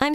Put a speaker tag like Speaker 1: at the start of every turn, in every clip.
Speaker 1: I'm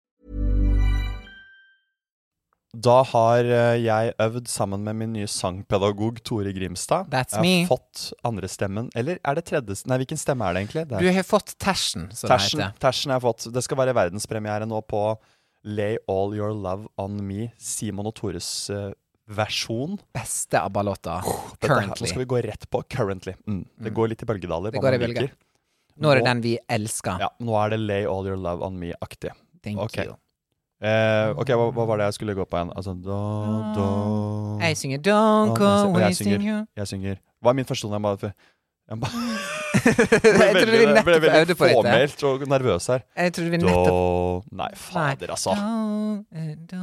Speaker 2: Da har eh, jeg øvd sammen med min nye sangpedagog Tore Grimstad.
Speaker 3: That's
Speaker 2: Jeg
Speaker 3: me.
Speaker 2: har fått andrestemmen, eller er det tredje s- Nei, hvilken stemme er det egentlig? Det
Speaker 3: Du sånn
Speaker 2: er
Speaker 3: har fått tersen, som det
Speaker 2: tersen,
Speaker 3: heter.
Speaker 2: tersen jeg har fått. Det skal være verdenspremiere nå på Lay All Your Love On Me, Simon og Tores eh, versjon.
Speaker 3: Beste ABBA-låta
Speaker 2: Dette her- Nå skal
Speaker 3: currently.
Speaker 2: vi gå rett på 'currently'. Mm. Det går litt i bølgedaler.
Speaker 3: Det
Speaker 2: hva
Speaker 3: går i
Speaker 2: man liker.
Speaker 3: bølger. Nå er det den vi elsker.
Speaker 2: Ja, nå er det 'Lay All Your Love On Me'-aktig.
Speaker 3: Thank
Speaker 2: ok.
Speaker 3: you.
Speaker 2: Eh, ok, hva, hva var det jeg skulle gå på igjen? Altså, da, da.
Speaker 3: Jeg synger 'Don't
Speaker 2: Og
Speaker 3: go
Speaker 2: Mm. jeg- og jeg synger-
Speaker 3: wasting you'.
Speaker 2: Jeg synger Hva er min første tone? Jeg bare, jeg bare
Speaker 3: Jeg trodde vi
Speaker 2: ble
Speaker 3: nettopp
Speaker 2: veldig
Speaker 3: øvde på dette.
Speaker 2: fåmælt og nervøs her.
Speaker 3: Jeg trodde vi nettopp
Speaker 2: Da Nei, fader, altså.
Speaker 3: Don't, eh,
Speaker 2: Da,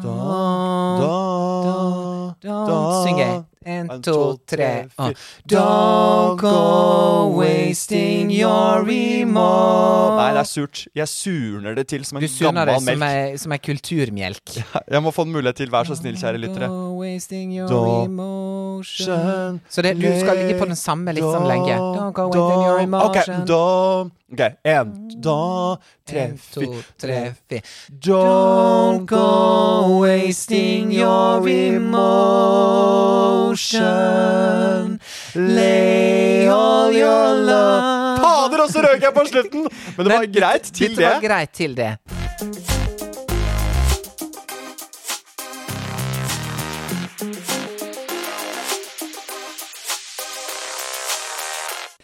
Speaker 3: don't,
Speaker 2: da, da.
Speaker 3: don't Syng jeg. En, to, tre.
Speaker 2: fire.
Speaker 3: og Don't go wasting your remote.
Speaker 2: Nei, det er surt. Jeg surner det til som en
Speaker 3: Du surner det
Speaker 2: gammel
Speaker 3: som
Speaker 2: melk.
Speaker 3: ei, som ei kulturmjelk.
Speaker 2: Jeg må få en mulighet til, vær så snill, kjære lyttere.
Speaker 3: Don't go wasting your
Speaker 2: Da-
Speaker 3: emotion. Så det, du skal ligge på den samme listen lenge. Don't go wasting your
Speaker 2: Ok,
Speaker 3: emotion.
Speaker 2: da Ok, en, da, tre,
Speaker 3: En,
Speaker 2: fire.
Speaker 3: to, tre, fire.
Speaker 2: Don't go wasting your emotion. Lay all your love Fader, og så røk jeg på slutten! Men det var greit til
Speaker 3: Dette var
Speaker 2: det.
Speaker 3: greit til det.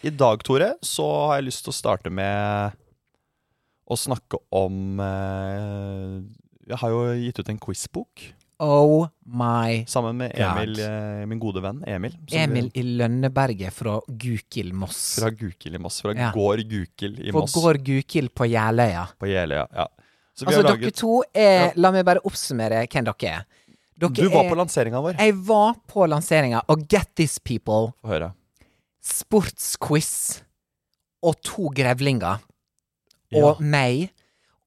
Speaker 2: I dag, Tore, så har jeg lyst til å starte med å snakke om eh, Jeg har jo gitt ut en quizbok
Speaker 3: Oh my
Speaker 2: sammen med
Speaker 3: God.
Speaker 2: Emil, eh, min gode venn Emil. som-
Speaker 3: Emil i Lønneberget fra Gukild Moss.
Speaker 2: Fra Gukild i Moss. Fra
Speaker 3: Ja.
Speaker 2: gård Gukild i
Speaker 3: Fra
Speaker 2: Moss
Speaker 3: Gård Gukild på Jeløya.
Speaker 2: på Jeløya. Ja. Så vi
Speaker 3: Altså,
Speaker 2: har
Speaker 3: dere
Speaker 2: laget
Speaker 3: to er La meg bare oppsummere hvem dere er. Dere
Speaker 2: Du var
Speaker 3: er-
Speaker 2: på lanseringa vår.
Speaker 3: Jeg var på lanseringa, og get this people
Speaker 2: Få høre.
Speaker 3: sportsquiz og to grevlinger.
Speaker 2: Ja.
Speaker 3: Og meg.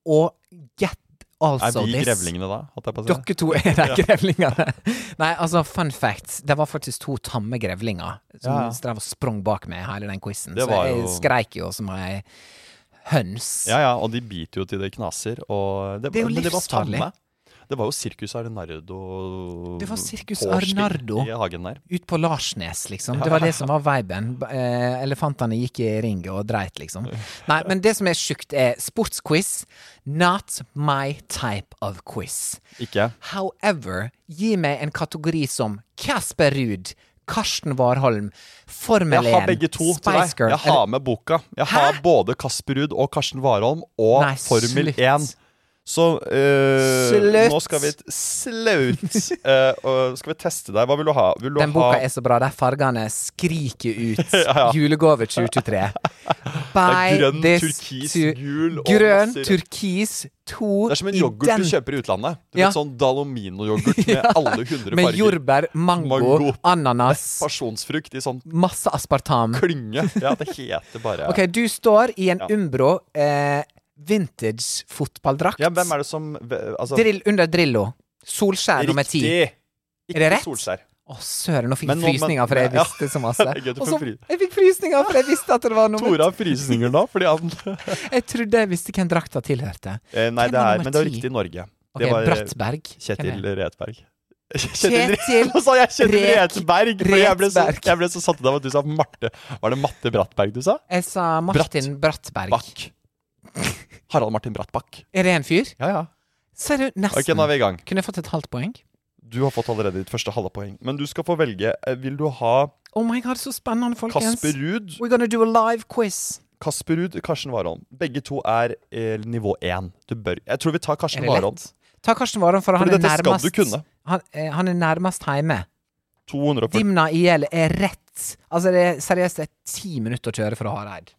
Speaker 3: Og get
Speaker 2: Er
Speaker 3: also
Speaker 2: vi altså.
Speaker 3: this.
Speaker 2: grevlingene da? Holdt jeg på å si.
Speaker 3: Dere to er de grevlingene. Nei, altså, fun fact. Det var faktisk to tamme grevlinger som
Speaker 2: Ja, ja.
Speaker 3: drev og sprang bak meg hele den quizen.
Speaker 2: Det
Speaker 3: Så
Speaker 2: var
Speaker 3: jeg
Speaker 2: jo-
Speaker 3: skreik jo som ei høns.
Speaker 2: Ja, ja, og de biter jo til det knaser. Og det,
Speaker 3: Det er jo
Speaker 2: men det var
Speaker 3: livsfarlig.
Speaker 2: tamme. Det var jo Sirkus Arnardo
Speaker 3: Det var Circus
Speaker 2: Torsdag
Speaker 3: Arnardo.
Speaker 2: I hagen der.
Speaker 3: Ut på Larsnes, liksom. Det var det som var viben. B- Eh, elefantene gikk i ring og dreit, liksom. Nei, men det som er sjukt, er sportsquiz. Not my type of quiz.
Speaker 2: Ikke?
Speaker 3: However, gi meg en kategori som Casper Ruud, Karsten Warholm, Formel 1,
Speaker 2: Jeg har begge to til
Speaker 3: Spice
Speaker 2: deg.
Speaker 3: Girl
Speaker 2: Jeg har med boka. Jeg har både Kasper Ruud og Karsten Warholm og
Speaker 3: Nei,
Speaker 2: Formel
Speaker 3: slutt.
Speaker 2: 1. Så eh,
Speaker 3: Slutt.
Speaker 2: nå skal vi t- Slutt! Eh, og skal vi teste deg? Hva vil du ha? Vil du
Speaker 3: Den
Speaker 2: ha
Speaker 3: boka er så bra. De fargene skriker ut
Speaker 2: ja.
Speaker 3: julegave 2023. Buy
Speaker 2: grønn,
Speaker 3: this
Speaker 2: turkis,
Speaker 3: to-
Speaker 2: gul og
Speaker 3: Grønn,
Speaker 2: masse rødt.
Speaker 3: turkis, to
Speaker 2: Det er som en yoghurt du
Speaker 3: ident-
Speaker 2: kjøper i utlandet. Du
Speaker 3: Ja.
Speaker 2: vet Sånn Dalomino-yoghurt med alle hundre
Speaker 3: Med
Speaker 2: farger.
Speaker 3: jordbær, mango,
Speaker 2: Mango.
Speaker 3: ananas,
Speaker 2: Pasjonsfrukt i sånn
Speaker 3: masse aspartam.
Speaker 2: klynge. Ja, det heter bare
Speaker 3: Ok, du står i en
Speaker 2: Ja.
Speaker 3: Umbro eh, vintage fotballdrakt.
Speaker 2: Ja, hvem er det som ve- altså,
Speaker 3: Drill, under Drillo. Solskjær nummer ti. Å,
Speaker 2: Riktig! Ikke
Speaker 3: det rett?
Speaker 2: Solskjær.
Speaker 3: søren, nå fikk
Speaker 2: Men nå- men-
Speaker 3: jeg frysninger, for jeg
Speaker 2: ja.
Speaker 3: visste så masse.
Speaker 2: Jeg gøtter
Speaker 3: Og
Speaker 2: på
Speaker 3: så,
Speaker 2: fry-
Speaker 3: jeg fikk frysninger, for jeg visste at det var nummer
Speaker 2: Tore har frysninger nå, fordi han
Speaker 3: Jeg trodde jeg visste hvem drakta tilhørte.
Speaker 2: eh, Nei, det
Speaker 3: Hvem var
Speaker 2: er,
Speaker 3: nummer
Speaker 2: men det var
Speaker 3: ti?
Speaker 2: riktig Norge.
Speaker 3: Ok,
Speaker 2: Det var eh,
Speaker 3: Brattberg.
Speaker 2: Kjetil
Speaker 3: Hvem er det?
Speaker 2: Retberg.
Speaker 3: Kjetil
Speaker 2: Nå sa jeg Kjetil
Speaker 3: Rek-
Speaker 2: Retberg! For jeg ble, så,
Speaker 3: Retberg.
Speaker 2: jeg ble så satt ut av at du sa Marte. Var det Matte Brattberg du sa?
Speaker 3: Jeg sa Martin Brattberg.
Speaker 2: Bakk. Harald Martin Brattbakk.
Speaker 3: Er det en fyr?
Speaker 2: Ja, ja.
Speaker 3: Ser du, nesten.
Speaker 2: Ok, nå er vi i gang.
Speaker 3: Kunne jeg fått et halvt poeng?
Speaker 2: Du har fått allerede ditt første halve poeng. Men du skal få velge. Eh, Vil du ha
Speaker 3: Oh my god, så spennende, folkens.
Speaker 2: Kasper Ruud?
Speaker 3: We're gonna do a live quiz.
Speaker 2: Kasper Ruud, Karsten Warholm. Begge to er eh, nivå én. Du bør Jeg tror vi tar
Speaker 3: Er
Speaker 2: Karsten
Speaker 3: det
Speaker 2: Warholm.
Speaker 3: lett? Ta Karsten Warholm, for han
Speaker 2: Fordi
Speaker 3: er
Speaker 2: dette skal
Speaker 3: nærmest
Speaker 2: du kunne.
Speaker 3: Han, eh, han er nærmest hjemme.
Speaker 2: 240
Speaker 3: Dimna IL er rett. Altså, det er seriøst det er ti minutter å kjøre fra Hareid.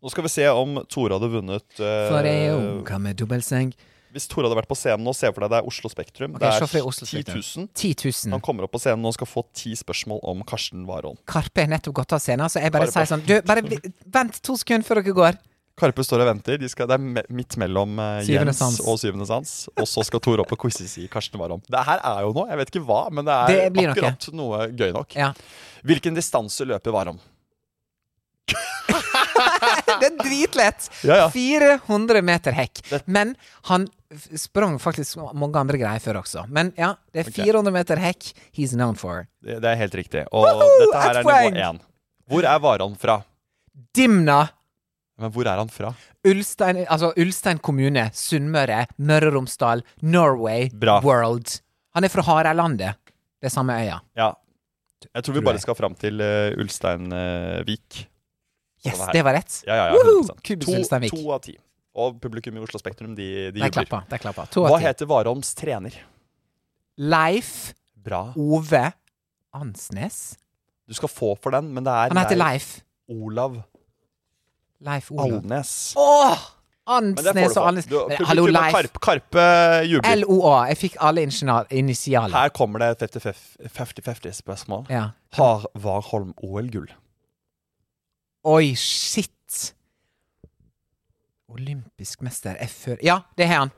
Speaker 2: Nå skal vi se om Tore hadde vunnet eh,
Speaker 3: For ei unge med dobbeltseng.
Speaker 2: Hvis Tore hadde vært på scenen nå, se for deg det er Oslo Spektrum.
Speaker 3: Ok,
Speaker 2: det
Speaker 3: se
Speaker 2: er
Speaker 3: for deg Oslo Spektrum. Mm.
Speaker 2: 10 000.
Speaker 3: 10
Speaker 2: Han
Speaker 3: 000.
Speaker 2: kommer opp på scenen og skal få ti spørsmål om Karsten Warholm.
Speaker 3: Karpe er nettopp gått av scenen, så jeg bare
Speaker 2: Karpe.
Speaker 3: sier sånn Du, bare vi- vent to sekunder før dere går.
Speaker 2: Karpe står og venter. De skal, det er me- midt mellom eh,
Speaker 3: Syvende
Speaker 2: Jens
Speaker 3: sans.
Speaker 2: og Syvende sans. Og så skal Tor opp og quizzes i Karsten Warholm. Det her er jo noe, jeg vet ikke hva, men det er
Speaker 3: Det blir noe.
Speaker 2: akkurat noe gøy nok.
Speaker 3: Ja.
Speaker 2: Hvilken distanse løper Warholm?
Speaker 3: Det er dritlett!
Speaker 2: Ja, ja.
Speaker 3: 400 meter hekk.
Speaker 2: Det-
Speaker 3: Men han f- sprang faktisk mange andre greier før også. Men ja, det er
Speaker 2: Ok.
Speaker 3: 400 meter hekk he's known for.
Speaker 2: Det, det er helt riktig. Og dette her
Speaker 3: ett
Speaker 2: er nivå
Speaker 3: poeng!
Speaker 2: én. Hvor er Warholm fra?
Speaker 3: Dimna!
Speaker 2: Men hvor er han fra?
Speaker 3: Ulstein, altså Ulstein kommune, Sunnmøre, Møre og Romsdal, Norway,
Speaker 2: Bra.
Speaker 3: world. Han er fra Hareilandet. Det er samme øya.
Speaker 2: Ja. Jeg tror vi
Speaker 3: Tror
Speaker 2: bare
Speaker 3: jeg.
Speaker 2: skal fram til eh, Ulsteinvik.
Speaker 3: Yes,
Speaker 2: det her.
Speaker 3: det var rett.
Speaker 2: Ja, ja, ja.
Speaker 3: Woohoo!
Speaker 2: 100%.
Speaker 3: Kubus
Speaker 2: To,
Speaker 3: Ulsteinvik.
Speaker 2: to av ti. Og publikum i Oslo Spektrum, de, de
Speaker 3: Der
Speaker 2: jubler.
Speaker 3: klappa. Der klappa. To
Speaker 2: Hva
Speaker 3: av ti.
Speaker 2: heter Warholms trener?
Speaker 3: Leif
Speaker 2: Bra.
Speaker 3: Ove Ansnes.
Speaker 2: Du skal få for den, men det er
Speaker 3: Han heter
Speaker 2: Leif
Speaker 3: Leif.
Speaker 2: Olav
Speaker 3: Leif Ove.
Speaker 2: Alnes.
Speaker 3: Åh!
Speaker 2: Men det får du
Speaker 3: Ansnes
Speaker 2: for.
Speaker 3: og Alnes.
Speaker 2: Du-
Speaker 3: Men
Speaker 2: publikum
Speaker 3: Hallo,
Speaker 2: og
Speaker 3: Leif.
Speaker 2: Karpe, Karpe jubler.
Speaker 3: LOA. Jeg fikk alle ingenial- initialer.
Speaker 2: Her kommer det et 50-50-spørsmål.
Speaker 3: Ja.
Speaker 2: Har Warholm OL-gull?
Speaker 3: Oi, shit! Olympisk mester er før Ja, det har han.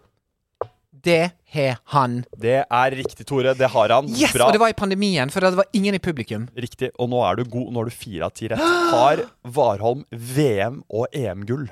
Speaker 3: Det har han.
Speaker 2: Det er riktig, Tore. Det har han.
Speaker 3: Yes!
Speaker 2: Bra.
Speaker 3: Og det var i pandemien, for det var ingen i publikum.
Speaker 2: Riktig. Og nå er du god. Nå har du fire av ti rett. Har Warholm VM- og E EM-gull?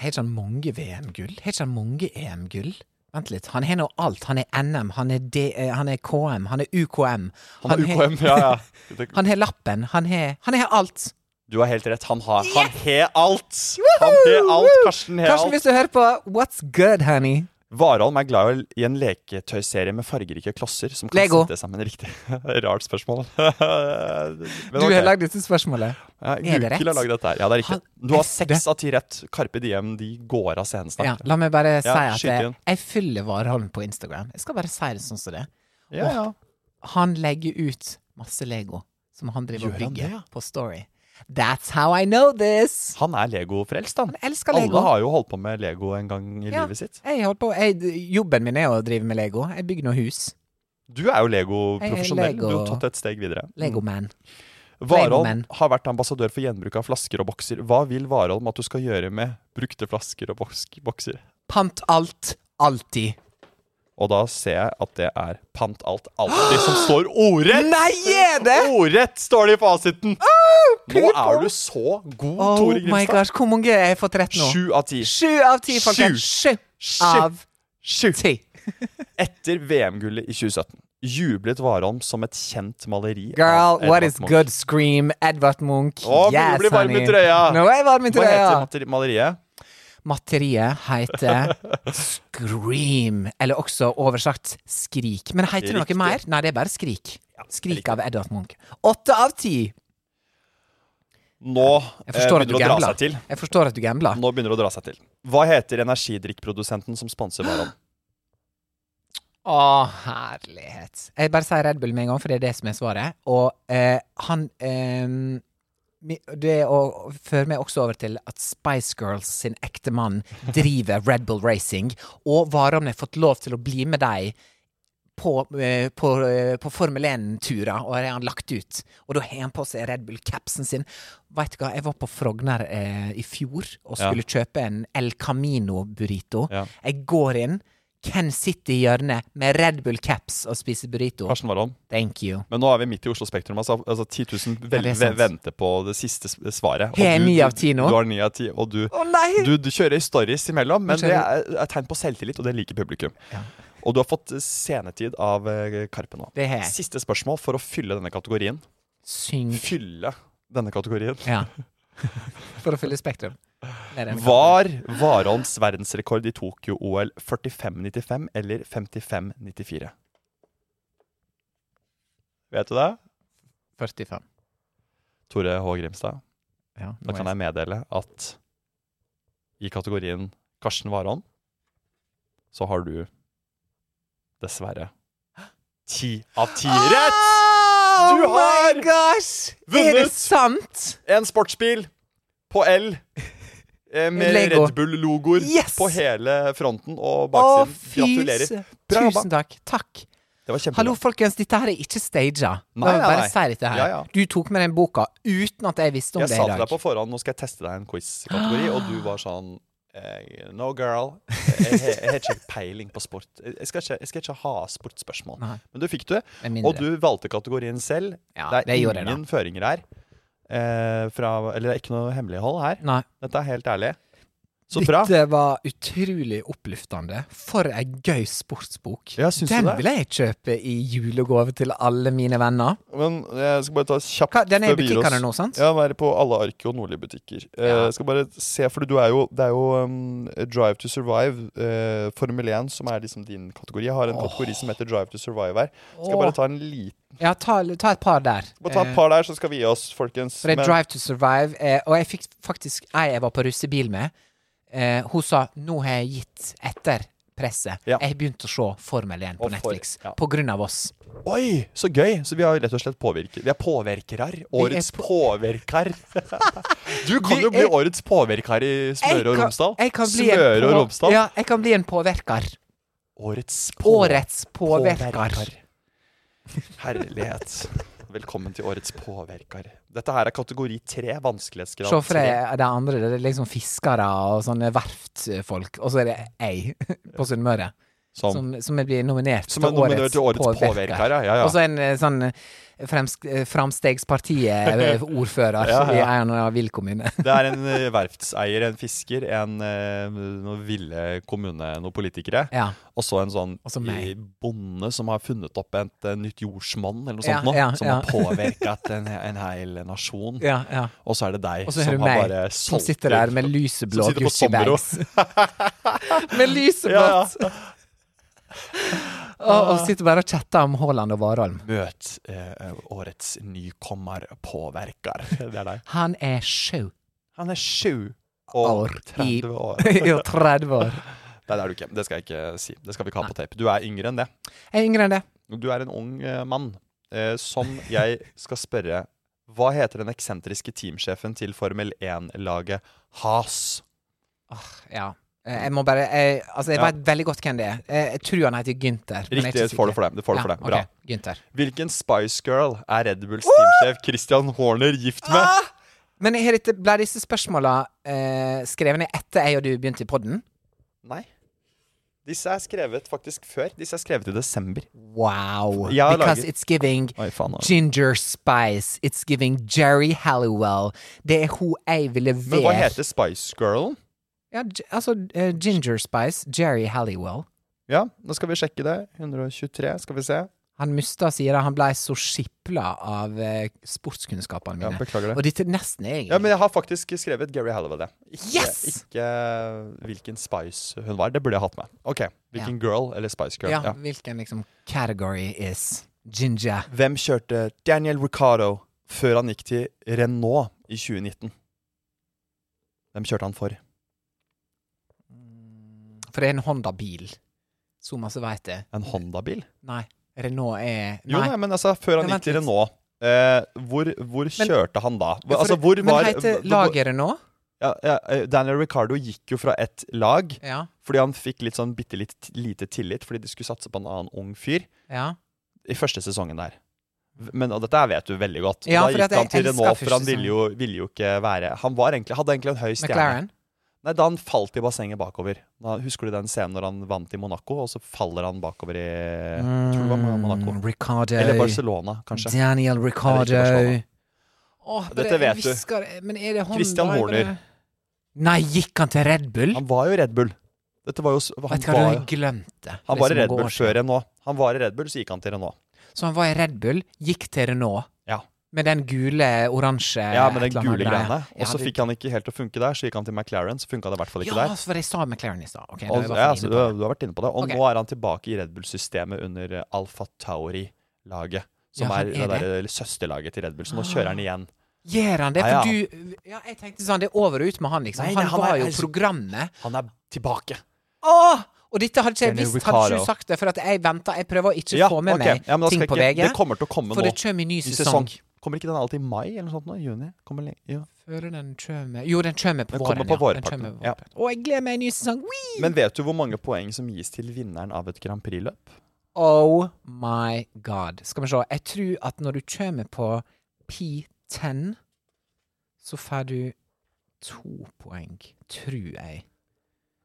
Speaker 3: Har ikke han mange VM-gull? Har ikke han mange EM-gull? Vent litt. Han har nå alt. Han er NM, han er, D, eh, han er KM, han er UKM.
Speaker 2: Han er
Speaker 3: har-
Speaker 2: UKM, ja, ja. Det-
Speaker 3: Han har lappen. Han har han har alt.
Speaker 2: Du har helt rett. Han har Han har alt! Han har alt. Karsten har
Speaker 3: Karsten,
Speaker 2: alt.
Speaker 3: hvis du hører på, what's good, honey?
Speaker 2: Warholm er glad i en leketøyserie med fargerike klosser som kan
Speaker 3: Lego.
Speaker 2: sette sammen riktig. Rart spørsmål. Men
Speaker 3: Du
Speaker 2: ok.
Speaker 3: har lagd dette spørsmålet.
Speaker 2: ja,
Speaker 3: det
Speaker 2: Gukild
Speaker 3: rett?
Speaker 2: har lagd dette her. Ja, det er riktig.
Speaker 3: Han-
Speaker 2: Du har
Speaker 3: Hefte.
Speaker 2: seks av ti rett. Carpe Diem, de går av scenen
Speaker 3: Ja,
Speaker 2: snart.
Speaker 3: la meg bare si at
Speaker 2: skyt
Speaker 3: jeg,
Speaker 2: igjen.
Speaker 3: jeg følger Warholm på Instagram. Jeg skal bare si det sånn som det. er.
Speaker 2: Ja, ja.
Speaker 3: Han legger ut masse Lego som han driver og
Speaker 2: Gjør han det,
Speaker 3: bygger
Speaker 2: ja?
Speaker 3: på Story. That's how I know this!
Speaker 2: Han er Lego-frelst, han.
Speaker 3: Han elsker Lego.
Speaker 2: Alle har jo holdt på med Lego en gang i livet sitt.
Speaker 3: Jeg holdt på, jeg, jobben min er å drive med Lego. Jeg bygger noe hus.
Speaker 2: Du er jo Lego-profesjonell.
Speaker 3: Jeg er Lego-
Speaker 2: Du har tatt et steg videre.
Speaker 3: Legoman.
Speaker 2: Warholm
Speaker 3: Legoman.
Speaker 2: har vært ambassadør for gjenbruk av flasker og bokser. Hva vil Warholm at du skal gjøre med brukte flasker og boks- bokser?
Speaker 3: Pant alt. Alltid.
Speaker 2: Og da ser jeg at det er pant alt alltid som står ordrett!
Speaker 3: Nei, er det?!
Speaker 2: Ordrett står det i fasiten! Nå er du så god,
Speaker 3: Oh
Speaker 2: Tore
Speaker 3: my
Speaker 2: Grimstad.
Speaker 3: gosh, hvor mange har jeg fått rett nå?
Speaker 2: Sju av ti.
Speaker 3: Sju av ti, folkens. Sju
Speaker 2: Sju.
Speaker 3: av
Speaker 2: Sju.
Speaker 3: ti.
Speaker 2: Etter VM-gullet i 2017 jublet Warholm som et kjent maleri.
Speaker 3: Girl,
Speaker 2: av Edvard
Speaker 3: what is
Speaker 2: Munch.
Speaker 3: good? Scream. Edvard Munch.
Speaker 2: Å, men du blir varm i trøya.
Speaker 3: Nå er jeg varm i
Speaker 2: Hva
Speaker 3: trøya.
Speaker 2: heter materi- maleriet?
Speaker 3: Materiet heter Scream, eller også oversagt Skrik. Men heter det
Speaker 2: Riktig.
Speaker 3: noe mer? Nei, det er bare Skrik. Skrik
Speaker 2: riktig.
Speaker 3: av Edvard Munch. Åtte av ti!
Speaker 2: Nå eh,
Speaker 3: Jeg forstår at
Speaker 2: begynner det å
Speaker 3: du
Speaker 2: dra
Speaker 3: gambler.
Speaker 2: seg til.
Speaker 3: Jeg forstår at du gambler.
Speaker 2: Nå begynner det å dra seg til. Hva heter energidrikkprodusenten som sponser Warholm?
Speaker 3: Å, herlighet. Jeg bare sier Red Bull med en gang, for det er det som er svaret. Og eh, han eh, mi- Det å fører meg også over til at Spice Girls sin ekte mann driver Red Bull Racing, og Warholm har fått lov til å bli med dem på, eh, på, eh, på Formel 1-turer, og det har han lagt ut. Og da har han på seg Red Bull-capsen sin. Veit du hva, jeg var på Frogner eh, i fjor og
Speaker 2: Ja.
Speaker 3: skulle kjøpe en El Camino burrito.
Speaker 2: Ja.
Speaker 3: Jeg går inn, Ken sitter i hjørnet med Red Bull caps og spiser burrito.
Speaker 2: Karsten Warholm.
Speaker 3: Thank you.
Speaker 2: Men nå er vi midt i Oslo Spektrum. Altså, altså 10 000 vel,
Speaker 3: Ja, det er sant.
Speaker 2: venter på det siste s- svaret. Og
Speaker 3: Jeg er
Speaker 2: du-
Speaker 3: ni
Speaker 2: du-
Speaker 3: av ti nå.
Speaker 2: Du har ni av ti, og du,
Speaker 3: Å nei!
Speaker 2: du, du kjører stories imellom, men
Speaker 3: Jeg
Speaker 2: det er er tegn på selvtillit, og det liker publikum. Og du har fått eh, scenetid av eh, Karpe nå.
Speaker 3: Det har jeg. Mm.
Speaker 2: Siste spørsmål for å fylle denne kategorien.
Speaker 3: Syng
Speaker 2: Fylle denne kategorien.
Speaker 3: Ja. For å fylle Spektrum. Det er en-
Speaker 2: Var Warholms verdensrekord i Tokyo-OL 45,95 eller 55,94? Vet du det?
Speaker 3: 45.
Speaker 2: Tore H. Grimstad,
Speaker 3: Ja,
Speaker 2: da kan jeg meddele at i kategorien Karsten Warholm, så har du dessverre ti av ti rett!
Speaker 3: Oh
Speaker 2: Du
Speaker 3: my
Speaker 2: har
Speaker 3: gosh! Er det
Speaker 2: vunnet!
Speaker 3: sant?
Speaker 2: En sportsbil på L. eh, Med
Speaker 3: Lego.
Speaker 2: Red Bull-logoer
Speaker 3: Yes!
Speaker 2: på hele fronten og
Speaker 3: Å,
Speaker 2: baksiden.
Speaker 3: fy
Speaker 2: Gratulerer.
Speaker 3: søren.
Speaker 2: Bra jobba.
Speaker 3: Tusen takk. Takk.
Speaker 2: Det var kjempebra.
Speaker 3: Hallo, folkens. Dette her er ikke staged.
Speaker 2: Nei, nei,
Speaker 3: Bare
Speaker 2: nei.
Speaker 3: si dette her.
Speaker 2: Ja, ja.
Speaker 3: Du tok med den boka uten at jeg visste om
Speaker 2: Jeg
Speaker 3: det
Speaker 2: sa
Speaker 3: i
Speaker 2: til
Speaker 3: dag.
Speaker 2: deg på forhånd nå skal jeg teste deg i en quiz-kategori, og du var sånn eh, No, girl. Jeg, jeg, jeg har ikke peiling på sport. Jeg skal ikke, jeg skal ikke ha sportsspørsmål.
Speaker 3: Nei.
Speaker 2: Men du fikk det,
Speaker 3: Med mindre.
Speaker 2: og du valgte kategorien selv.
Speaker 3: Ja,
Speaker 2: det er
Speaker 3: det gjorde jeg da.
Speaker 2: ingen føringer her. Eh, fra, eller det er ikke noe hemmelighold her.
Speaker 3: Nei.
Speaker 2: Dette er helt ærlig. Så bra.
Speaker 3: Dette var utrolig oppluftende. For ei gøy sportsbok.
Speaker 2: Ja, syns du
Speaker 3: den
Speaker 2: det?
Speaker 3: vil jeg kjøpe i julegave til alle mine venner.
Speaker 2: Men jeg skal bare ta kjapt
Speaker 3: Hva, den er i
Speaker 2: forbi
Speaker 3: butikkene
Speaker 2: oss.
Speaker 3: nå, sant?
Speaker 2: Ja, være på alle Arki og Nordli-butikker. Eh,
Speaker 3: Ja.
Speaker 2: Jeg skal bare se, for du er jo, det er jo um, Drive to Survive, eh, Formel 1, som er liksom din kategori. Jeg har en kategori som heter Drive to Survive her. Skal bare
Speaker 3: Åh.
Speaker 2: ta en liten
Speaker 3: Ja, ta, ta et par der. Eh,
Speaker 2: Skal bare ta et par der, så skal vi gi oss, folkens.
Speaker 3: For det
Speaker 2: Men-
Speaker 3: er Drive to Survive, eh, og jeg fikk faktisk ei jeg var på russebil med, eh, hun sa 'nå har jeg gitt etter presset'.
Speaker 2: Ja.
Speaker 3: Jeg har begynt å se Formel 1 på
Speaker 2: Og for-
Speaker 3: Netflix
Speaker 2: ja.
Speaker 3: på grunn av oss.
Speaker 2: Oi, så gøy! Så vi har rett og slett påvirker. Vi er påvirkerar. Årets
Speaker 3: på-
Speaker 2: påvirker. Du kan
Speaker 3: Vi
Speaker 2: jo bli
Speaker 3: er-
Speaker 2: årets påvirker i
Speaker 3: Jeg
Speaker 2: Smøre og
Speaker 3: kan-
Speaker 2: Romsdal.
Speaker 3: jeg kan bli en
Speaker 2: Smøre og
Speaker 3: på-
Speaker 2: Romsdal.
Speaker 3: Ja, jeg kan bli en påvirker.
Speaker 2: Årets
Speaker 3: Årets påvirker.
Speaker 2: Herlighet. Velkommen til årets påvirker. Dette her er kategori tre, vanskelighetsgrad
Speaker 3: Se for
Speaker 2: tre.
Speaker 3: deg de andre. Det er liksom fiskere og sånne verftfolk. Og så er det jeg på Sunnmøre
Speaker 2: Som, som,
Speaker 3: som, som blir nominert
Speaker 2: er nominert til årets påvirker. Ja, ja,
Speaker 3: Og så
Speaker 2: ja.
Speaker 3: en eh, sånn fremsk, eh, Framstegspartiet-ordfører
Speaker 2: Ja,
Speaker 3: i
Speaker 2: ja.
Speaker 3: en eller annen vill kommune.
Speaker 2: Det er en eh, verftseier, en fisker, en eh, noen ville kommune, noen politikere.
Speaker 3: ja.
Speaker 2: Og så en sånn
Speaker 3: Og så meg.
Speaker 2: i- bonde som har funnet opp et, eh, nytt jordsmonn, eller noe
Speaker 3: Ja,
Speaker 2: sånt nå.
Speaker 3: ja,
Speaker 2: som
Speaker 3: ja.
Speaker 2: har påvirket en, en hel nasjon.
Speaker 3: ja, ja.
Speaker 2: Og så er det deg
Speaker 3: Og så er det
Speaker 2: som har
Speaker 3: meg
Speaker 2: bare
Speaker 3: som
Speaker 2: solgt
Speaker 3: sitter der
Speaker 2: ut-
Speaker 3: med lyseblå
Speaker 2: som
Speaker 3: Gucci
Speaker 2: sitter på
Speaker 3: bags. med
Speaker 2: Ja,
Speaker 3: lyseblått! og, og sitter bare og chatter om Haaland og Warholm.
Speaker 2: Møt eh, årets nykommerpåvirker. Det er deg.
Speaker 3: Han er sju
Speaker 2: Han er sju
Speaker 3: år
Speaker 2: og 30 år.
Speaker 3: i og 30 år.
Speaker 2: Nei, det er du ikke. Det skal jeg ikke si. Det skal vi ikke ha på tape. Du er yngre enn det.
Speaker 3: Jeg er yngre enn det.
Speaker 2: Du er en ung eh, mann eh, som jeg skal spørre Hva heter den eksentriske teamsjefen til Formel 1-laget Has?
Speaker 3: Ja. Eh, Jeg må bare jeg, Altså, jeg
Speaker 2: Ja.
Speaker 3: vet veldig godt hvem det er. Eh, Jeg, jeg tror han heter Gynter. men jeg er
Speaker 2: Riktig, det
Speaker 3: ikke
Speaker 2: får du
Speaker 3: sikker.
Speaker 2: for deg. Det får du
Speaker 3: Ja,
Speaker 2: for deg.
Speaker 3: ok,
Speaker 2: Bra.
Speaker 3: Günther.
Speaker 2: Hvilken Spice Girl er Red Bulls teamsjef Christian Horner gift
Speaker 3: Ah!
Speaker 2: med?
Speaker 3: Men er dette- ble disse spørsmåla eh, skrevet ned etter jeg og du begynte i podden?
Speaker 2: Nei. Disse er skrevet faktisk før. Disse er skrevet i desember.
Speaker 3: Wow.
Speaker 2: Jeg har
Speaker 3: Because
Speaker 2: laget-
Speaker 3: it's giving
Speaker 2: Oi, faen. altså.
Speaker 3: Ginger Spice. It's giving Jerry Halliwell. Det er hun jeg ville være
Speaker 2: Men hva heter Spice Girlen?
Speaker 3: ja, gi- Altså eh, Ginger Spice, Jerry Halliwell.
Speaker 2: Ja, nå skal vi sjekke det. 123, skal vi se.
Speaker 3: Han mista, sier jeg, han blei så skipla av eh, sportskunnskapene
Speaker 2: Ja,
Speaker 3: mine.
Speaker 2: beklager det.
Speaker 3: og dette nesten er egentlig
Speaker 2: Ja, men jeg har faktisk skrevet Gary Halliwell, det. Ikke,
Speaker 3: Yes!
Speaker 2: ikke eh, hvilken Spice hun var. Det burde jeg hatt med. Ok, Hvilken girl eller Spice Girl.
Speaker 3: ja,
Speaker 2: Ja.
Speaker 3: hvilken liksom category is Ginger?
Speaker 2: Hvem kjørte Daniel Ricardo før han gikk til Renault i 2019? Hvem kjørte han for?
Speaker 3: For det er en Honda-bil. Så masse veit jeg.
Speaker 2: En Honda-bil?
Speaker 3: Nei, Renault er
Speaker 2: Jo, nei, men altså, før han
Speaker 3: Men
Speaker 2: gikk til
Speaker 3: vent litt.
Speaker 2: Renault, eh, hvor, hvor kjørte han da? Hva- Altså, hvor
Speaker 3: men
Speaker 2: var
Speaker 3: heter
Speaker 2: hvor-
Speaker 3: laget Renault?
Speaker 2: Ja, ja, eh, Daniel Ricardo gikk jo fra ett lag
Speaker 3: Ja.
Speaker 2: fordi han fikk litt sånn bitte litt t- lite tillit fordi de skulle satse på en annen ung fyr.
Speaker 3: ja.
Speaker 2: i første sesongen der. Men og dette her vet du veldig godt.
Speaker 3: Ja,
Speaker 2: Og
Speaker 3: for
Speaker 2: da
Speaker 3: at
Speaker 2: gikk han
Speaker 3: jeg
Speaker 2: til
Speaker 3: elsker
Speaker 2: Renault,
Speaker 3: første
Speaker 2: for han ville jo, ville jo ikke være Han var egentlig, hadde egentlig en høy stjerne.
Speaker 3: McLaren?
Speaker 2: Nei, Da han falt i bassenget bakover. Da, husker du den scenen når han vant i Monaco, og så faller han bakover i jeg Tror det var
Speaker 3: Mm.
Speaker 2: Monaco.
Speaker 3: Ricardo.
Speaker 2: Eller Barcelona, kanskje.
Speaker 3: Daniel Ricardo.
Speaker 2: Barcelona.
Speaker 3: Åh,
Speaker 2: Dette
Speaker 3: bare
Speaker 2: vet du.
Speaker 3: visker, du. Men er det Honda?
Speaker 2: Christian
Speaker 3: eller
Speaker 2: Horner.
Speaker 3: bare- Nei, gikk han til Red Bull?
Speaker 2: Han var jo i Red Bull. Dette var jo s- Han,
Speaker 3: vet du hva, du liksom
Speaker 2: var,
Speaker 3: har glemt det.
Speaker 2: han
Speaker 3: Det
Speaker 2: var i
Speaker 3: er
Speaker 2: Red
Speaker 3: så mange
Speaker 2: Bull
Speaker 3: år siden.
Speaker 2: før Renault. Han var i Red Bull, så gikk han til Renault.
Speaker 3: Så han var i Red Bull, gikk til Renault.
Speaker 2: Ja.
Speaker 3: Med den gule, oransje
Speaker 2: Ja, med
Speaker 3: et
Speaker 2: den
Speaker 3: eller annet
Speaker 2: gule
Speaker 3: greia.
Speaker 2: greiene.
Speaker 3: Ja,
Speaker 2: Og så
Speaker 3: det-
Speaker 2: fikk han ikke helt til å funke der, så gikk han til McLaren, så funka det i hvert fall ikke
Speaker 3: ja,
Speaker 2: der.
Speaker 3: for jeg sa McLaren i stad. Ok, da er
Speaker 2: Og,
Speaker 3: jeg i hvert
Speaker 2: ja,
Speaker 3: fall
Speaker 2: så
Speaker 3: inne
Speaker 2: du,
Speaker 3: på
Speaker 2: har-
Speaker 3: det.
Speaker 2: du har vært inne på det. Og
Speaker 3: Ok.
Speaker 2: nå er han tilbake i Red Bull-systemet under eh, Alfa Tauri-laget. Som
Speaker 3: Ja,
Speaker 2: er,
Speaker 3: han er Ah.
Speaker 2: det der søsterlaget til Red Bull. Så nå kjører han igjen.
Speaker 3: Gjør han det?
Speaker 2: Ja, ja.
Speaker 3: For du Ja, jeg tenkte sånn, det er over og ut med han, liksom.
Speaker 2: Nei, nei,
Speaker 3: han,
Speaker 2: han
Speaker 3: var
Speaker 2: er-
Speaker 3: jo programmet.
Speaker 2: Han er tilbake.
Speaker 3: Åh! Og dette hadde ikke jeg
Speaker 2: Daniel
Speaker 3: visst, hadde ikke
Speaker 2: Ricciardo.
Speaker 3: du sagt det, for at jeg venter. Jeg prøver å ikke få med
Speaker 2: ok.
Speaker 3: meg
Speaker 2: Ja, men da
Speaker 3: ting
Speaker 2: skal
Speaker 3: på
Speaker 2: ikke-
Speaker 3: VG.
Speaker 2: Det kommer til å komme nå.
Speaker 3: For det kommer i ny
Speaker 2: i
Speaker 3: sesong.
Speaker 2: Kommer ikke den alltid i mai eller noe sånt? nå? Juni? Kommer le- ja.
Speaker 3: Før den kommer Jo, den kommer på
Speaker 2: Den kommer
Speaker 3: våren.
Speaker 2: på
Speaker 3: ja. Den
Speaker 2: vårparten,
Speaker 3: kommer på
Speaker 2: ja.
Speaker 3: vårparten. Å, jeg gleder meg en ny sesong! Whee!
Speaker 2: Men vet du hvor mange poeng som gis til vinneren av et Grand Prix-løp?
Speaker 3: Oh my god. Skal vi se. Jeg tror at når du kommer på P10, så får du to poeng, tror jeg.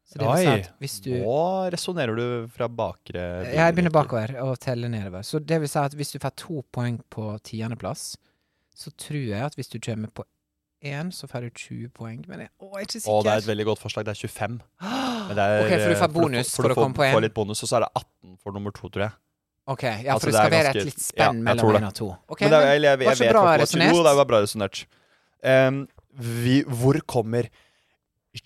Speaker 3: Så det vil si at hvis du
Speaker 2: nå resonnerer du fra bakre
Speaker 3: Ja, jeg begynner bakover og teller nedover. Så det vil si at hvis du får to poeng på tiendeplass, så tror jeg at hvis du kommer på én, så får du 20 poeng. Men jeg, å, jeg er ikke sikker.
Speaker 2: Og det er et veldig godt forslag. Det er 25. Men det er,
Speaker 3: Ok, for du får
Speaker 2: eh,
Speaker 3: bonus for å komme på
Speaker 2: Du får
Speaker 3: en.
Speaker 2: litt bonus, og så er det 18 for nummer to, tror jeg.
Speaker 3: Ok, ja,
Speaker 2: Altså,
Speaker 3: for det
Speaker 2: det er
Speaker 3: skal være
Speaker 2: ganske-
Speaker 3: et litt
Speaker 2: ja, jeg
Speaker 3: spenn mellom
Speaker 2: tror det.
Speaker 3: én og to. Ok,
Speaker 2: Men det, er-
Speaker 3: men
Speaker 2: jeg, jeg, jeg,
Speaker 3: var så
Speaker 2: vet
Speaker 3: bra
Speaker 2: hva folk-
Speaker 3: resonert.
Speaker 2: Jo, det var bra resonert. Em, vi, hvor kommer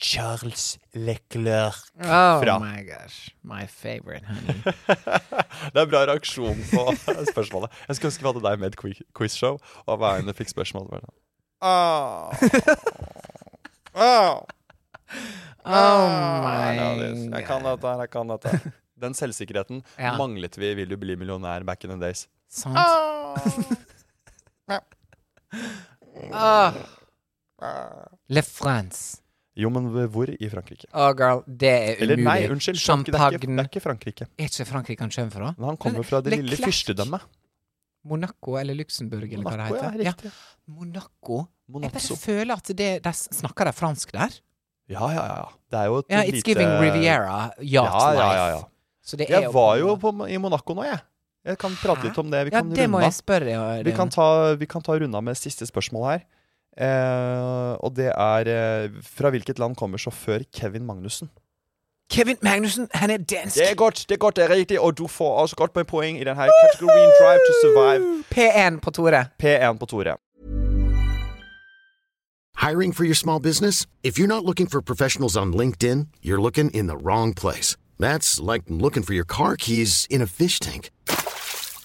Speaker 2: Charles Leclerc fra?
Speaker 3: Oh my gosh, my favorite, honey.
Speaker 2: det er bra reaksjon på spørsmålet. Jeg skulle ønske vi hadde deg med i et quiz- quizshow, og hver gang du fikk spørsmål bare sånn «Åh. Åh.
Speaker 3: Oh
Speaker 2: Ah, ja,
Speaker 3: my
Speaker 2: det- Jeg kan
Speaker 3: god.
Speaker 2: dette her, jeg kan dette her. Den selvsikkerheten
Speaker 3: Ja.
Speaker 2: manglet vi i Vil du bli millionær back in the days.
Speaker 3: Sant. Ah. Le France.
Speaker 2: Jo, men hvor i Frankrike?
Speaker 3: Oh girl, det er umulig.
Speaker 2: Eller nei, unnskyld. Frank- Det er, ikke, det er ikke Frankrike.
Speaker 3: Er ikke Frankrike han kommer fra?
Speaker 2: Men han kommer
Speaker 3: Men
Speaker 2: fra det lille
Speaker 3: Leclerc-
Speaker 2: fyrstedømmet.
Speaker 3: Monaco eller Luxembourg, eller hva det
Speaker 2: Monaco, ja.
Speaker 3: heter.
Speaker 2: Riktig.
Speaker 3: Monaco. Jeg
Speaker 2: Monazzo.
Speaker 3: bare føler at det, de s- snakker de fransk der?
Speaker 2: Ja, ja, ja. Det er jo et
Speaker 3: Ja,
Speaker 2: lite
Speaker 3: It's giving Riviera yacht
Speaker 2: Ja,
Speaker 3: life.
Speaker 2: ja, ja, ja.
Speaker 3: Så det er
Speaker 2: Jeg var jo på, i Monaco nå, jeg. Jeg kan prate
Speaker 3: Hæ?
Speaker 2: litt om det. Vi
Speaker 3: Ja,
Speaker 2: kan
Speaker 3: det må
Speaker 2: runde
Speaker 3: jeg
Speaker 2: av.
Speaker 3: spørre eh,
Speaker 2: Vi kan ta, vi kan ta runda med siste spørsmål her. Eh, og det er eh, Fra hvilket land kommer sjåfør Kevin Magnussen?
Speaker 3: Kevin Magnussen, han er dansk!
Speaker 2: Det er godt, det er godt, det er riktig, og du får også godt med poeng i denne kategorien Drive to Survive
Speaker 3: P1 på Tore.
Speaker 2: P1 på Tore.
Speaker 4: Hiring for your small business? If you're not looking for professionals on LinkedIn, you're looking in the wrong place. That's like looking for your car keys in a fish tank.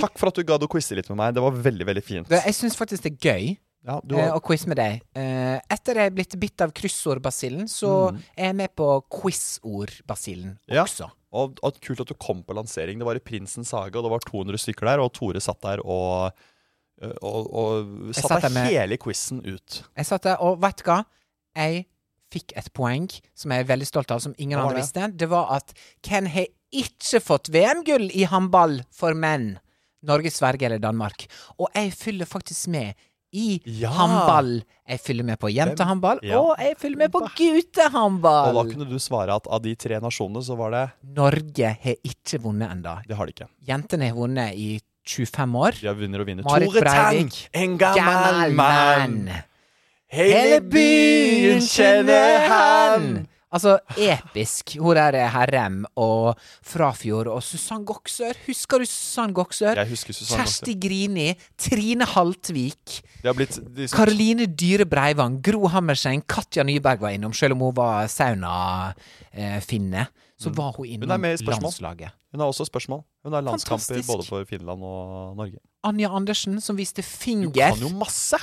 Speaker 2: Takk for at du gadd å quize litt med meg. Det var veldig, veldig fint.
Speaker 3: Du, Jeg syns faktisk det er gøy
Speaker 2: Ja, du
Speaker 3: eh,
Speaker 2: har...
Speaker 3: å quiz med deg. Eh, etter jeg er blitt bitt av kryssordbasillen, så er jeg med på quizordbasillen
Speaker 2: Mm. Ja.
Speaker 3: også.
Speaker 2: og, og kult at du kom på lansering. Det var i Prinsens hage, og det var 200 stykker der, og Tore satt der og eh, og, og satt
Speaker 3: satt
Speaker 2: der
Speaker 3: der med-
Speaker 2: hele quizen ut.
Speaker 3: Jeg satt der, og vet du hva? Jeg fikk et poeng som jeg er veldig stolt av, som ingen
Speaker 2: Hva var
Speaker 3: andre
Speaker 2: det?
Speaker 3: visste. Det var at hvem har ikke fått VM-gull i håndball for menn? Norge, Sverige eller Danmark? Og jeg fyller faktisk med i
Speaker 2: Ja.
Speaker 3: håndball. Jeg fyller med på jentehåndball,
Speaker 2: Ja.
Speaker 3: og jeg fyller med på
Speaker 2: Og da
Speaker 3: guttehåndball!
Speaker 2: kunne du svare at av de tre nasjonene, så var det
Speaker 3: Norge har ikke vunnet enda.
Speaker 2: Det har de ikke.
Speaker 3: Jentene har vunnet i 25 år.
Speaker 2: De har vunnet og vinner.
Speaker 3: Marit
Speaker 2: Tore Tang,
Speaker 3: Breivik.
Speaker 2: en gammel mann.
Speaker 3: Hele byen kjenner han! Altså, episk. Hun der er Herrem og Frafjord og Susann Goksør. Husker du Susann Goksør?
Speaker 2: Jeg husker Susanne
Speaker 3: Kjersti Grini, Trine Haltvik,
Speaker 2: Det har blitt de,
Speaker 3: Karoline Dyhre Breivang, Gro Hammerseng, Katja Nyberg var innom, selv om hun var saunafinne. Så var hun
Speaker 2: Hun Mm. er
Speaker 3: innom
Speaker 2: med i spørsmål.
Speaker 3: landslaget.
Speaker 2: Hun har også spørsmål. Hun har landskamper
Speaker 3: Fantastisk.
Speaker 2: både for Finland og Norge.
Speaker 3: Anja Andersen, som viste
Speaker 2: Du
Speaker 3: finger.
Speaker 2: kan jo masse!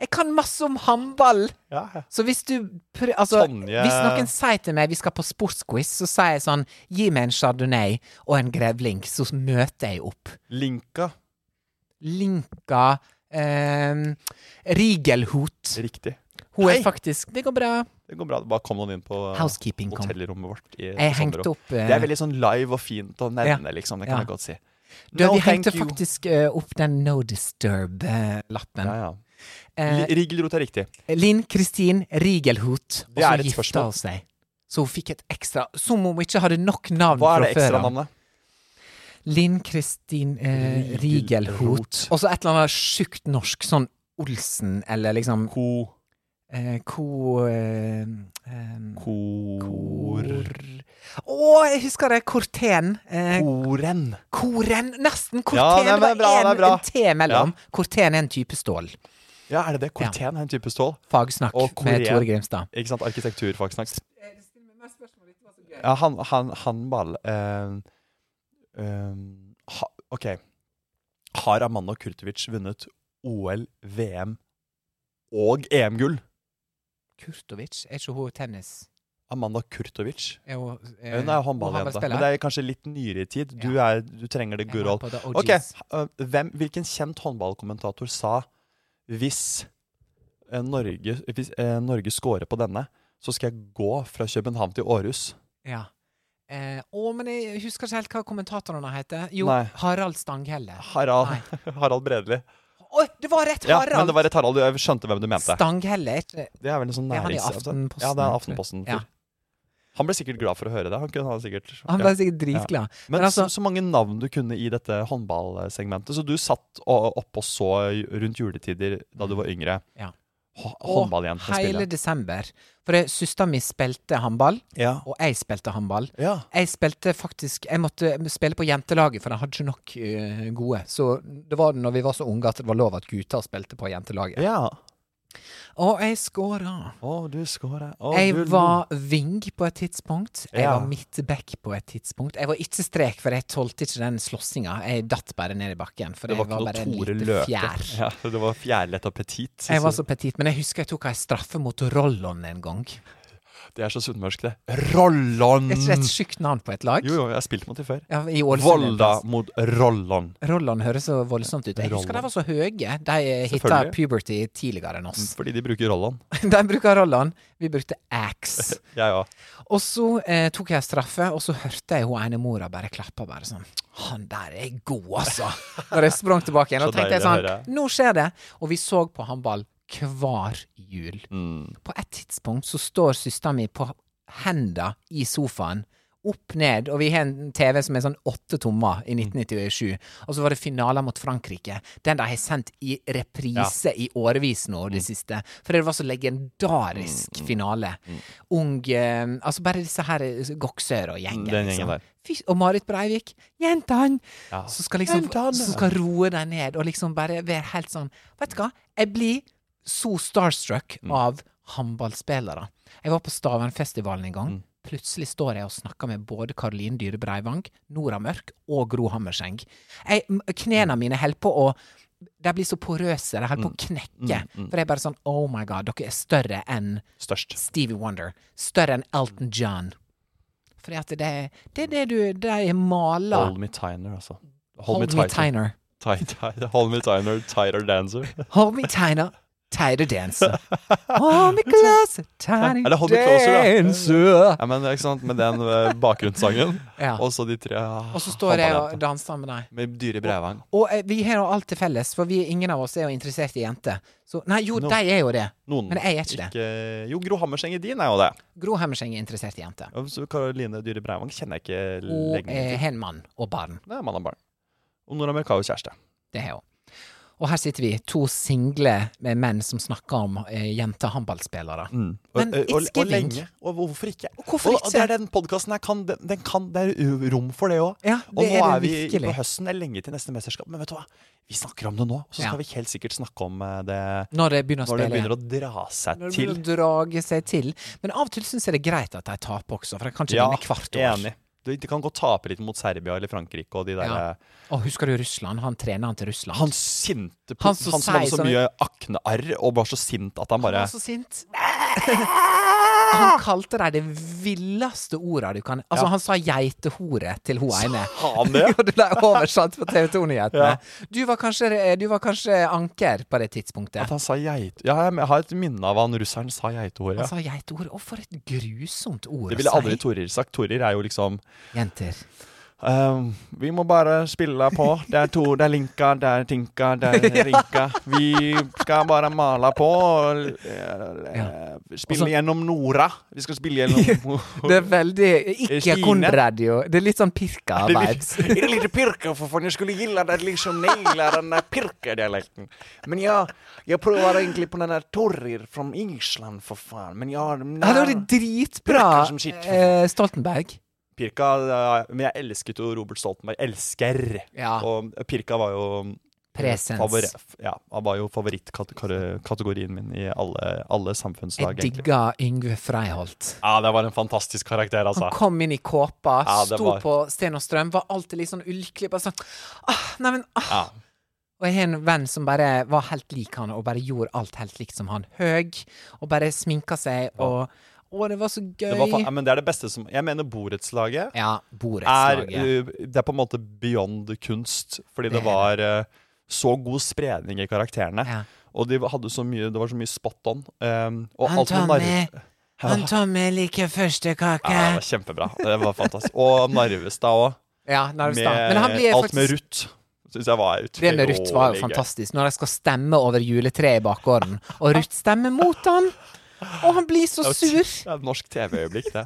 Speaker 3: Jeg kan masse om håndball!
Speaker 2: Ja, ja.
Speaker 3: Så hvis du prø altså,
Speaker 2: Tonje-
Speaker 3: Hvis noen sier til meg vi skal på sportsquiz, så sier jeg sånn Gi meg en chardonnay og en grevling, så møter jeg opp.
Speaker 2: Linka.
Speaker 3: Linka ehm, Rigelhot.
Speaker 2: Riktig.
Speaker 3: Hun
Speaker 2: Hei!
Speaker 3: er faktisk Det går bra.
Speaker 2: Det går bra. Det Bare kom noen inn på eh,
Speaker 3: Housekeeping kom.
Speaker 2: hotellrommet vårt. I
Speaker 3: Jeg
Speaker 2: sommer,
Speaker 3: hengte
Speaker 2: og-
Speaker 3: opp eh,
Speaker 2: Det er veldig sånn live og fint å nevne,
Speaker 3: Ja.
Speaker 2: liksom. Det kan
Speaker 3: Ja.
Speaker 2: jeg godt si.
Speaker 3: du, Vi
Speaker 2: thank
Speaker 3: hengte
Speaker 2: you.
Speaker 3: faktisk eh, opp den No Disturb-lappen.
Speaker 2: ja, ja.
Speaker 3: Eh,
Speaker 2: Li- Rigelrot er riktig.
Speaker 3: Linn Kristin Rigelhot, og
Speaker 2: Det er
Speaker 3: så
Speaker 2: et
Speaker 3: gifta
Speaker 2: spørsmål.
Speaker 3: hun seg. Så hun fikk et ekstra Som om hun ikke hadde nok navn
Speaker 2: Hva er det
Speaker 3: fra før.
Speaker 2: ekstra
Speaker 3: av.
Speaker 2: navnet?
Speaker 3: Linn Kristin eh, Rigelhot.
Speaker 2: Rigelrot.
Speaker 3: Og så et eller annet sjukt norsk, sånn Olsen eller liksom
Speaker 2: Ko...
Speaker 3: eh, Ko... Eh, eh,
Speaker 2: Kor...
Speaker 3: Å, jeg husker det! Korten. Eh,
Speaker 2: Koren.
Speaker 3: koren Nesten! Korten!
Speaker 2: Ja, nei,
Speaker 3: det,
Speaker 2: men bra, det
Speaker 3: var
Speaker 2: er
Speaker 3: en,
Speaker 2: bra.
Speaker 3: en T mellom. Korten er en type stål.
Speaker 2: Ja, er det det? Korten er en type stål.
Speaker 3: Fagsnakk
Speaker 2: Og
Speaker 3: med
Speaker 2: koren.
Speaker 3: Tore Grimstad.
Speaker 2: Ikke sant? Arkitekturfagsnakk. Ja, han, han, han ball eh, eh, ha, OK. Har Amanda Kurtovic vunnet OL, VM og E EM-gull?
Speaker 3: Kurtovic? Er ikke hun tennis...?
Speaker 2: Amanda Kurtovic.
Speaker 3: Er hun, eh,
Speaker 2: Hun er håndballjente, men det er kanskje litt nyere i tid. Du, er, du trenger det
Speaker 3: Jeg
Speaker 2: good
Speaker 3: var
Speaker 2: old.
Speaker 3: på the OGs.
Speaker 2: Ok, eh, hvem, hvilken kjent håndballkommentator sa hvis eh, Norge, hvis eh, Norge scorer på denne, så skal jeg gå fra København til Århus?
Speaker 3: Ja. Eh, å, men jeg husker ikke helt hva kommentatorene heter. Jo,
Speaker 2: Nei.
Speaker 3: Harald Stanghelle.
Speaker 2: Harald, Harald Bredli.
Speaker 3: Oi, det var rett!
Speaker 2: Ja,
Speaker 3: Harald!
Speaker 2: men det var et Harald, jeg skjønte hvem du mente.
Speaker 3: Stanghelle, er ikke
Speaker 2: Det er vel en sånn
Speaker 3: Er han i
Speaker 2: nærings...
Speaker 3: Aftenposten,
Speaker 2: Ja, det er
Speaker 3: tror jeg?
Speaker 2: Aftenposten.
Speaker 3: Ja.
Speaker 2: Han ble sikkert glad for å høre det. Han kunne ha sikkert...
Speaker 3: Han
Speaker 2: ja.
Speaker 3: ble sikkert dritglad.
Speaker 2: Men,
Speaker 3: Men altså,
Speaker 2: så, så mange navn du kunne i dette håndballsegmentet. Så du satt o- opp og så rundt juletider da du var yngre.
Speaker 3: Ja.
Speaker 2: Hå-
Speaker 3: og
Speaker 2: Håndballjentene
Speaker 3: hele
Speaker 2: spille.
Speaker 3: desember. For jeg- søsteren min spilte håndball,
Speaker 2: Ja.
Speaker 3: og jeg spilte håndball.
Speaker 2: ja.
Speaker 3: Jeg spilte faktisk Jeg måtte spille på jentelaget, for de hadde ikke nok eh, gode. Så det var når vi var så unge at det var lov at gutter spilte på jentelaget.
Speaker 2: Ja.
Speaker 3: Og jeg skåra.
Speaker 2: Å, du skåra. Å, du
Speaker 3: Jeg
Speaker 2: lo.
Speaker 3: var wing på et tidspunkt. Jeg
Speaker 2: Ja.
Speaker 3: var midtback på et tidspunkt. Jeg var ikke strek, for jeg tålte ikke den slåssinga. Jeg datt bare ned i bakken. For
Speaker 2: Det var
Speaker 3: jeg var
Speaker 2: ikke
Speaker 3: bare
Speaker 2: noe
Speaker 3: en
Speaker 2: Tore
Speaker 3: liten
Speaker 2: Løke.
Speaker 3: fjær.
Speaker 2: Ja, det var fjærlett appetit. synes
Speaker 3: Jeg var
Speaker 2: du.
Speaker 3: så petit, men jeg husker jeg tok ei straffe mot Rollon en gang.
Speaker 2: Det er så sunnmørsk, det. Rollon!
Speaker 3: Er ikke det et sykt navn på et lag?
Speaker 2: Mm. Jo, jo, jeg har spilt mot dem før.
Speaker 3: Ja, I Ålesund. en
Speaker 2: Volda
Speaker 3: plass.
Speaker 2: mot Rollon.
Speaker 3: Rollon høres så voldsomt ut. Jeg husker
Speaker 2: Rollon.
Speaker 3: de var så høye. De hitta
Speaker 2: Selvfølgelig.
Speaker 3: puberty tidligere enn oss.
Speaker 2: Fordi de bruker Rollon.
Speaker 3: De bruker Rollon. Vi brukte Axe.
Speaker 2: Jeg òg.
Speaker 3: Og så eh, tok jeg straffe, og så hørte jeg hun ene mora bare klappa bare sånn. Han der er god, altså! Når jeg sprang tilbake igjen. Og
Speaker 2: Så
Speaker 3: tenkte jeg
Speaker 2: deilig å
Speaker 3: sånn, nå skjer det! Og vi så på håndball hver jul.
Speaker 2: Mm.
Speaker 3: På et tidspunkt så står søsteren min på henda i sofaen. Opp ned, og vi har en TV som er sånn åtte tommer
Speaker 2: Mm.
Speaker 3: i 1997. Og så var det finaler mot Frankrike. Den de har sendt i reprise i årevis nå, det
Speaker 2: Mm.
Speaker 3: siste. For det var så legendarisk finale.
Speaker 2: mm.
Speaker 3: Ung eh, Altså bare disse her eh, Goksør og gjengen.
Speaker 2: Den gjengen
Speaker 3: liksom.
Speaker 2: der.
Speaker 3: Fy- Og Marit Breivik. Jentene!
Speaker 2: Ja.
Speaker 3: Som skal liksom
Speaker 2: Jentene!
Speaker 3: Som skal roe deg ned, og liksom bare være helt sånn Vet du hva? Jeg blir så starstruck
Speaker 2: Mm.
Speaker 3: av håndballspillere. Jeg var på Stavernfestivalen
Speaker 2: Mm.
Speaker 3: en gang. Plutselig står jeg og snakker med både Karoline Dyhre Breivang, Nora Mørk og Gro Hammerseng. Jeg, m- knærne
Speaker 2: Mm.
Speaker 3: mine holder på å De blir så porøse. De holder på å knekke.
Speaker 2: Mm,
Speaker 3: For jeg er bare sånn Oh my God, dere er større enn
Speaker 2: Størst.
Speaker 3: Stevie Wonder. Større enn Elton John. Fordi at det, det er det du De maler
Speaker 2: Hold me tiner, altså.
Speaker 3: Hold me tiner.
Speaker 2: Tight- tight- Hold me tiner, tighter dancer.
Speaker 3: Hold me tiner. Tighter dancer. Hold me closer. Tiny
Speaker 2: Eller hold me closer, da.
Speaker 3: dancer.
Speaker 2: Ja, men, ikke sant? Med den eh, bakgrunnssangen.
Speaker 3: Ja.
Speaker 2: Og så de tre ah,
Speaker 3: Og så står jeg og
Speaker 2: håndballjentene.
Speaker 3: danser med deg.
Speaker 2: Med dyre brevang.
Speaker 3: Og eh, vi har jo alt til felles, for vi, ingen av oss er jo interessert i jenter. Så, nei, jo,
Speaker 2: No.
Speaker 3: de er jo det.
Speaker 2: Noen
Speaker 3: Men jeg er ikke det.
Speaker 2: Jo, Gro Hammerseng i din er jo det.
Speaker 3: Gro Hemmerseng er interessert i jenter.
Speaker 2: Og så Karoline Dyhre Breivang kjenner jeg ikke
Speaker 3: Og
Speaker 2: lenge
Speaker 3: eh,
Speaker 2: til.
Speaker 3: har en mann og barn.
Speaker 2: Det er mann og barn. Og Nora Mørk har jo kjæreste.
Speaker 3: Det har hun. Og her sitter vi, to single med menn som snakker om eh, jentehåndballspillere.
Speaker 2: Mm. Og, eh,
Speaker 3: Men
Speaker 2: og, og,
Speaker 3: it's
Speaker 2: og
Speaker 3: giving.
Speaker 2: lenge. Og hvorfor ikke?
Speaker 3: Og hvorfor
Speaker 2: og,
Speaker 3: ikke?
Speaker 2: og det er den podkasten her kan, den, den kan Det er rom for det òg.
Speaker 3: Ja,
Speaker 2: og
Speaker 3: det
Speaker 2: nå
Speaker 3: er det
Speaker 2: er vi
Speaker 3: virkelig.
Speaker 2: på høsten. Det er lenge til neste mesterskap. Men vet du hva? Vi snakker om det nå. Og så skal
Speaker 3: Ja.
Speaker 2: vi helt sikkert snakke om eh, det
Speaker 3: Når det begynner å
Speaker 2: når det
Speaker 3: spille.
Speaker 2: begynner
Speaker 3: igjen.
Speaker 2: å dra seg
Speaker 3: Når det
Speaker 2: til.
Speaker 3: begynner å drage seg til. Men av og til syns jeg det er greit at de taper også, for de kan ikke vinne hvert år.
Speaker 2: enig. Du, de kan godt tape litt mot Serbia eller Frankrike og de der eh,
Speaker 3: Ja. Og husker du Russland? Han treneren til Russland.
Speaker 2: Han sinte
Speaker 3: Han
Speaker 2: Han,
Speaker 3: som
Speaker 2: som hadde
Speaker 3: sier
Speaker 2: så
Speaker 3: sånn-
Speaker 2: mye aknearr og var så sint at han
Speaker 3: Han
Speaker 2: bare
Speaker 3: var så sint. Han kalte deg det villeste ordet du kan Altså, han sa geitehore til hun ene.
Speaker 2: Sa han det?
Speaker 3: Og det ble oversatt på TV 2-nyhetene.
Speaker 2: Ja.
Speaker 3: Du, var kanskje- du var kanskje anker på det
Speaker 2: At
Speaker 3: tidspunktet.
Speaker 2: han sa geit... Ja, jeg har et minne av han russeren sa geitehore.
Speaker 3: Han sa geitehore. Å, for et grusomt ord
Speaker 2: Det ville
Speaker 3: å
Speaker 2: aldri
Speaker 3: si.
Speaker 2: Torir sagt. Torir er jo liksom
Speaker 3: Jenter.
Speaker 2: Ehm, vi må bare spille på. Det er to, det er linka, det er tinka, det er rinka. Vi skal bare male på og eh,
Speaker 3: Ja.
Speaker 2: spille
Speaker 3: Og så-
Speaker 2: gjennom Nora. Vi skal spille gjennom
Speaker 3: Det er veldig ikke
Speaker 2: Stine.
Speaker 3: Konradio. Det er litt sånn pirka-vibes.
Speaker 2: Det är lite pirka för fan, jag skulle gilla att liksom naila den där pirka-dialekten. Men jag, jag provar egentligen på den där Torrir från Island för fan. Men jag har... den
Speaker 3: Hadde
Speaker 2: där-
Speaker 3: vært dritbra,
Speaker 2: Pirka som shit.
Speaker 3: eh, Stoltenberg.
Speaker 2: Pirka, ja, men jeg elsket jo Robert Stoltenberg. Elsker!
Speaker 3: Ja.
Speaker 2: Og Pirka var jo
Speaker 3: Presens.
Speaker 2: favori- Ja, han var jo favorittkategorien min i alle, alle samfunnslag.
Speaker 3: Jeg
Speaker 2: egentlig.
Speaker 3: digga Yngve Freiholt.
Speaker 2: Ja, det var en fantastisk karakter, altså.
Speaker 3: Han kom inn i kåpa,
Speaker 2: Ja, det
Speaker 3: sto
Speaker 2: var-
Speaker 3: på Sten og Strøm, var alltid litt sånn ulykkelig. Bare sånn ah, Nei, men ah.
Speaker 2: Ja.
Speaker 3: Og jeg har en venn som bare var helt lik han, og bare gjorde alt helt likt som han. Høg, og bare sminka seg, og Å, det var så gøy.
Speaker 2: Det var, fa- ja, men det er det beste som Jeg mener borettslaget.
Speaker 3: Ja,
Speaker 2: er,
Speaker 3: borettslaget.
Speaker 2: uh, det er på en måte beyond kunst, fordi det
Speaker 3: Det er
Speaker 2: var uh, så god spredning i karakterene.
Speaker 3: Ja.
Speaker 2: Og de hadde så mye, det var så mye spot on. Um, og
Speaker 3: Han
Speaker 2: alt med
Speaker 3: Tommy,
Speaker 2: Narve-
Speaker 3: han Tommy liker førstekake.
Speaker 2: ja, det var kjempebra. Det var fantastisk. Og Narvestad òg.
Speaker 3: Ja, Narvestad. Men han blir
Speaker 2: alt med
Speaker 3: faktisk
Speaker 2: Ruth. Syns jeg var utrolig
Speaker 3: Det med Ruth var jo
Speaker 2: gøy.
Speaker 3: fantastisk, når de skal stemme over juletreet i bakgården, og Ruth stemmer mot han! Og han blir så
Speaker 2: Det var et-
Speaker 3: sur!
Speaker 2: Det er et norsk TV-øyeblikk, det.